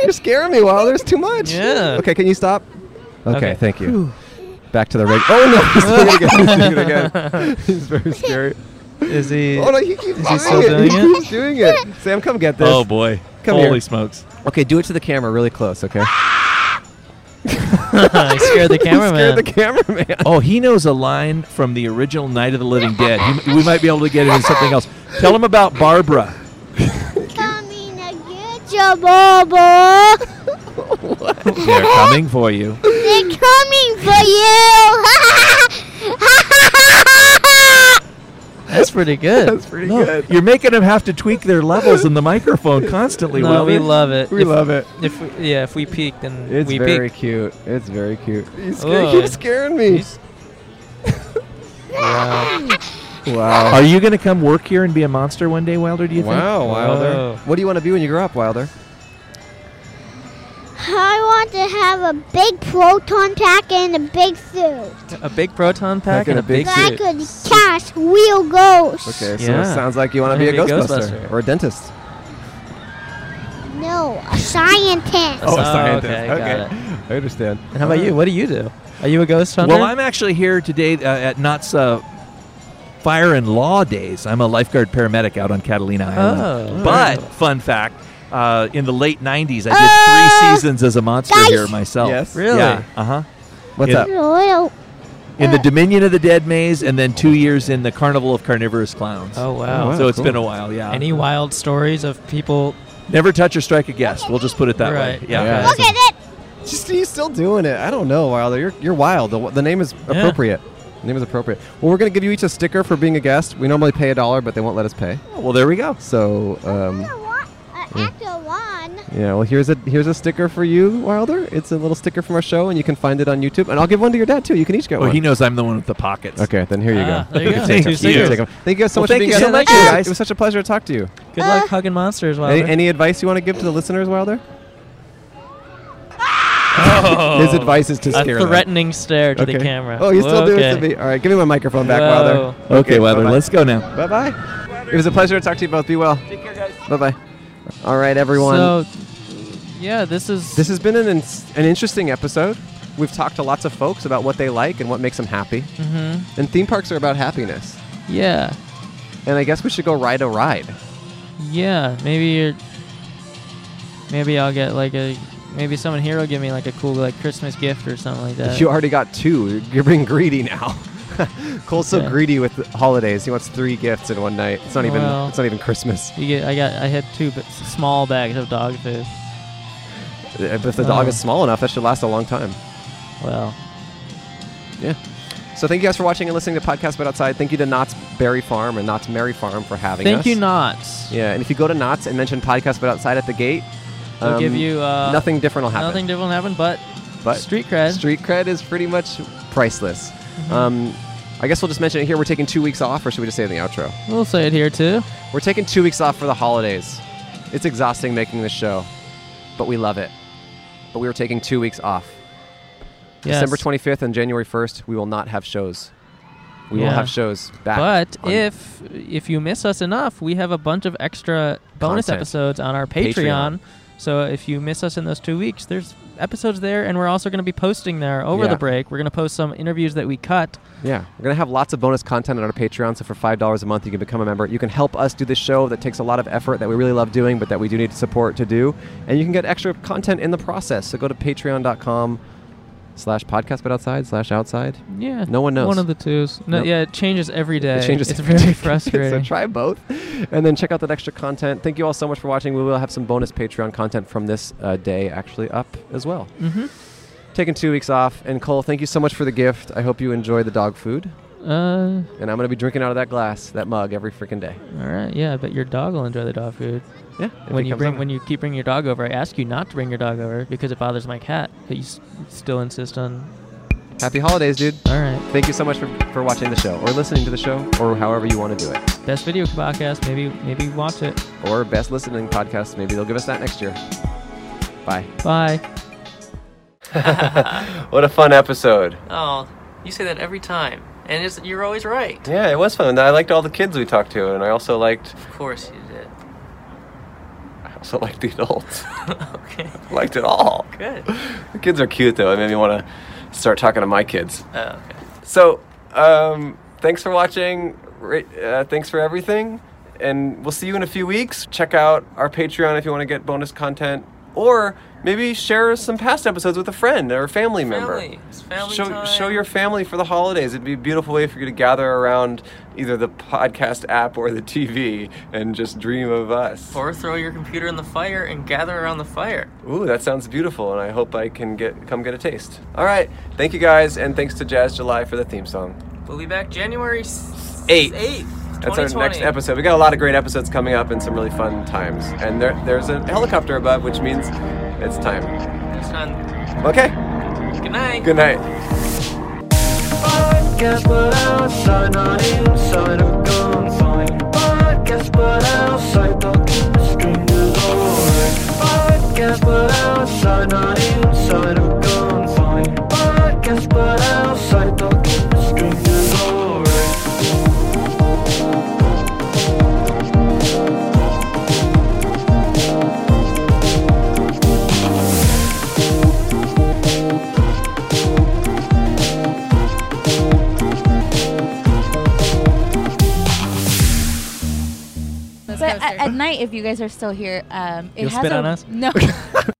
You're scaring me, Wilder. There's too much.
Yeah.
Okay, can you stop? Okay,
Okay.
thank you. Back to the regular. Oh no! He's doing it again. He's doing it again. He's very scary.
Is he?
Oh no! He keeps
he
doing
still
it.
doing
he
it?
keeps doing it. Sam, come get this.
Oh boy.
Come
Holy
here.
smokes.
Okay, do it to the camera really close. Okay.
I scared the
He
cameraman.
scared the cameraman.
Oh, he knows a line from the original Night of the Living Dead. He, we might be able to get it in something else. Tell him about Barbara.
Coming to get you, Bobo.
They're coming for you.
They're coming for you.
That's pretty good.
That's pretty good.
You're making them have to tweak their levels in the microphone constantly.
no, we
Wilder.
love it.
We
If-
love it.
If we, yeah, if we peak, then
It's
we
very
peak.
cute. It's very cute. He's
sca- he
keeps
keeps
scaring me.
Wow.
Wow.
Are you going to come work here and be a monster one day, Wilder? Do you
Wow, Wilder.
Whoa.
What do you want to be when you grow up, Wilder?
I want to have a big proton pack and a big suit.
A big proton pack
in
and
a
a big
big
So I
suit.
could catch real ghosts.
Okay, so it
Yeah.
sounds like you want to be a
Wanna be a
ghostbuster,
Ghostbuster.
or a dentist.
No, a scientist.
Oh, scientist. okay, got it.
I understand.
And how about you? What do you do? Are you a ghost hunter?
Well, I'm actually here today uh, at Knott's uh, Fire and Law Days. I'm a lifeguard paramedic out on Catalina Island.
Oh.
But, fun fact, uh, in the late 90s, I did three seasons as a monster
Guys.
here myself.
Yes.
Ah! Really?
Yeah. Uh huh.
What's
Yeah.
up?
Little-
In the Dominion of the Dead maze, and then two years in the Carnival of Carnivorous Clowns.
Oh wow.
wow.
So it's
cool.
been a while, yeah.
Any wild stories of people?
Never touch or strike a guest. We'll just put it that way.
Right.
Yeah.
Yeah.
Look at it.
Just he's still doing it. I don't know, Wilder. You're you're wild. The, the name is appropriate. The name is appropriate. Well, we're gonna give you each a sticker for being a guest. We normally pay a dollar, but they won't let us pay.
Oh, Well, there we go.
So, um,
Actor one- uh, Actor one.
yeah. Well, here's a here's a sticker for you, Wilder. It's a little sticker from our show, and you can find it on YouTube. And I'll give one to your dad too. You can each get
Well,
one.
he knows I'm the one with the pockets.
Okay, then here you
Ah,
go.
there you go.
Thank
Two
you.
You can
stickers.
take 'em. Thank you guys so
Well,
much
thank
for being
you
on.
so much,
It
you
was-
guys.
It was such a pleasure to talk to you.
Good luck hugging monsters, Wilder.
Any, any advice you want to give to the listeners, Wilder? His advice is to
Oh. a
scare them.
threatening stare to the camera.
Oh, you still do it
Okay.
to me. All right, give me my microphone back,
Whoa.
Wilder.
Okay, Weather,
bye-bye.
let's go now.
Bye bye. It was a pleasure to talk to you both. Be well. Take care, guys. Bye bye. All right, everyone.
So, yeah, this is
this has been an, ins- an interesting episode. We've talked to lots of folks about what they like and what makes them happy.
Mhm.
And theme parks are about happiness.
Yeah,
And I guess we should go ride a ride.
yeah. Maybe you're. Maybe I'll get like a. Maybe someone here will give me like a cool like Christmas gift or something like that.
you already got two. You're being greedy now. Cole's so
Okay.
greedy with the holidays. He wants three gifts in one night. It's not even.
Well.
It's not even Christmas.
You get. I got. I had two, but s- small bags of dog food.
If the dog
Oh.
is small enough, that should last a long time.
Well,
Yeah. So thank you guys for watching and listening to Podcast But Outside. Thank you to Knott's Berry Farm and Knott's Merry Farm for having
thank
us.
you, Knots.
Yeah, and if you go to Knott's and mention Podcast But Outside at the gate, um,
They'll give you, uh,
nothing different will happen.
Nothing different will happen, but
but
street cred. Mm-hmm.
street cred is pretty much priceless. Um, I guess we'll just mention it here. We're taking two weeks off, or should we just say it in the outro?
We'll say it here too.
We're taking two weeks off for the holidays. It's exhausting making this show, but we love it. But we were taking two weeks off.
Yes.
December 25th and January 1st, we will not have shows. We will
Yeah.
have shows back.
But
on
if if you miss us enough, we have a bunch of extra bonus
Content.
episodes on our
Patreon.
Patreon, So if you miss us in those two weeks, there's episodes there, and we're also going to be posting there over
Yeah.
the break. We're going to post some interviews that we cut.
Yeah, we're gonna have lots of bonus content on our Patreon. So for five dollars a month, you can become a member. You can help us do this show that takes a lot of effort that we really love doing, but that we do need support to do. And you can get extra content in the process. So go to patreon.com slash podcast but outside slash outside.
Yeah,
no one knows.
One of the twos. No,
Nope.
Yeah, it changes every day.
It changes.
It's
every
very
day.
frustrating.
so try both, and then check out that extra content. Thank you all so much for watching. We will have some bonus Patreon content from this uh, day actually up as well.
Mhm.
Taking two weeks off, and Cole, thank you so much for the gift. I hope you enjoy the dog food.
Uh,
And I'm gonna be drinking out of that glass, that mug, every freaking day.
All right. Yeah, I bet your dog will enjoy the dog food.
Yeah.
When
he
you
comes
bring
over.
when you keep bringing your dog over, I ask you not to bring your dog over because it bothers my cat, but you s- still insist on.
Happy holidays, dude.
All right.
Thank you so much for, for watching the show, or listening to the show, or however you want to do it,
Best video podcast. Maybe maybe watch it.
or best listening podcast. Maybe they'll give us that next year. Bye.
Bye.
What a fun episode.
Oh, you say that every time, and it's, you're always right.
Yeah, it was fun. I liked all the kids we talked to, and I also liked
Of course you did.
I also liked the adults.
okay.
liked it all.
Good.
The kids are cute though. It made me want to start talking to my kids.
Oh, okay.
So, um, thanks for watching. Ra- Uh, thanks for everything. And we'll see you in a few weeks. Check out our Patreon if you want to get bonus content. Or maybe share some past episodes with a friend or a family, member.
Family. It's family
show,
time.
show your family for the holidays. It'd be a beautiful way for you to gather around either the podcast app or the TV and just dream of us.
Or throw your computer in the fire and gather around the fire.
Ooh, that sounds beautiful, and I hope I can get come get a taste. All right, thank you guys, and thanks to Jazz July for the theme song.
We'll be back January s-
Eight.
8th.
That's our next
2020.
episode. We got a lot of great episodes coming up and some really fun times. And there, there's a helicopter above, which means it's time.
It's on-
Okay.
Good night.
Good night.
Podcast but outside, not inside of confined. Podcast but outside, talking the strangers alright. Podcast but outside, not inside of confined. Podcast but outside, talking the strangers alright.
But at, at night, if you guys are still here, um, it
You'll
has
spit
a, um,
on us?
No.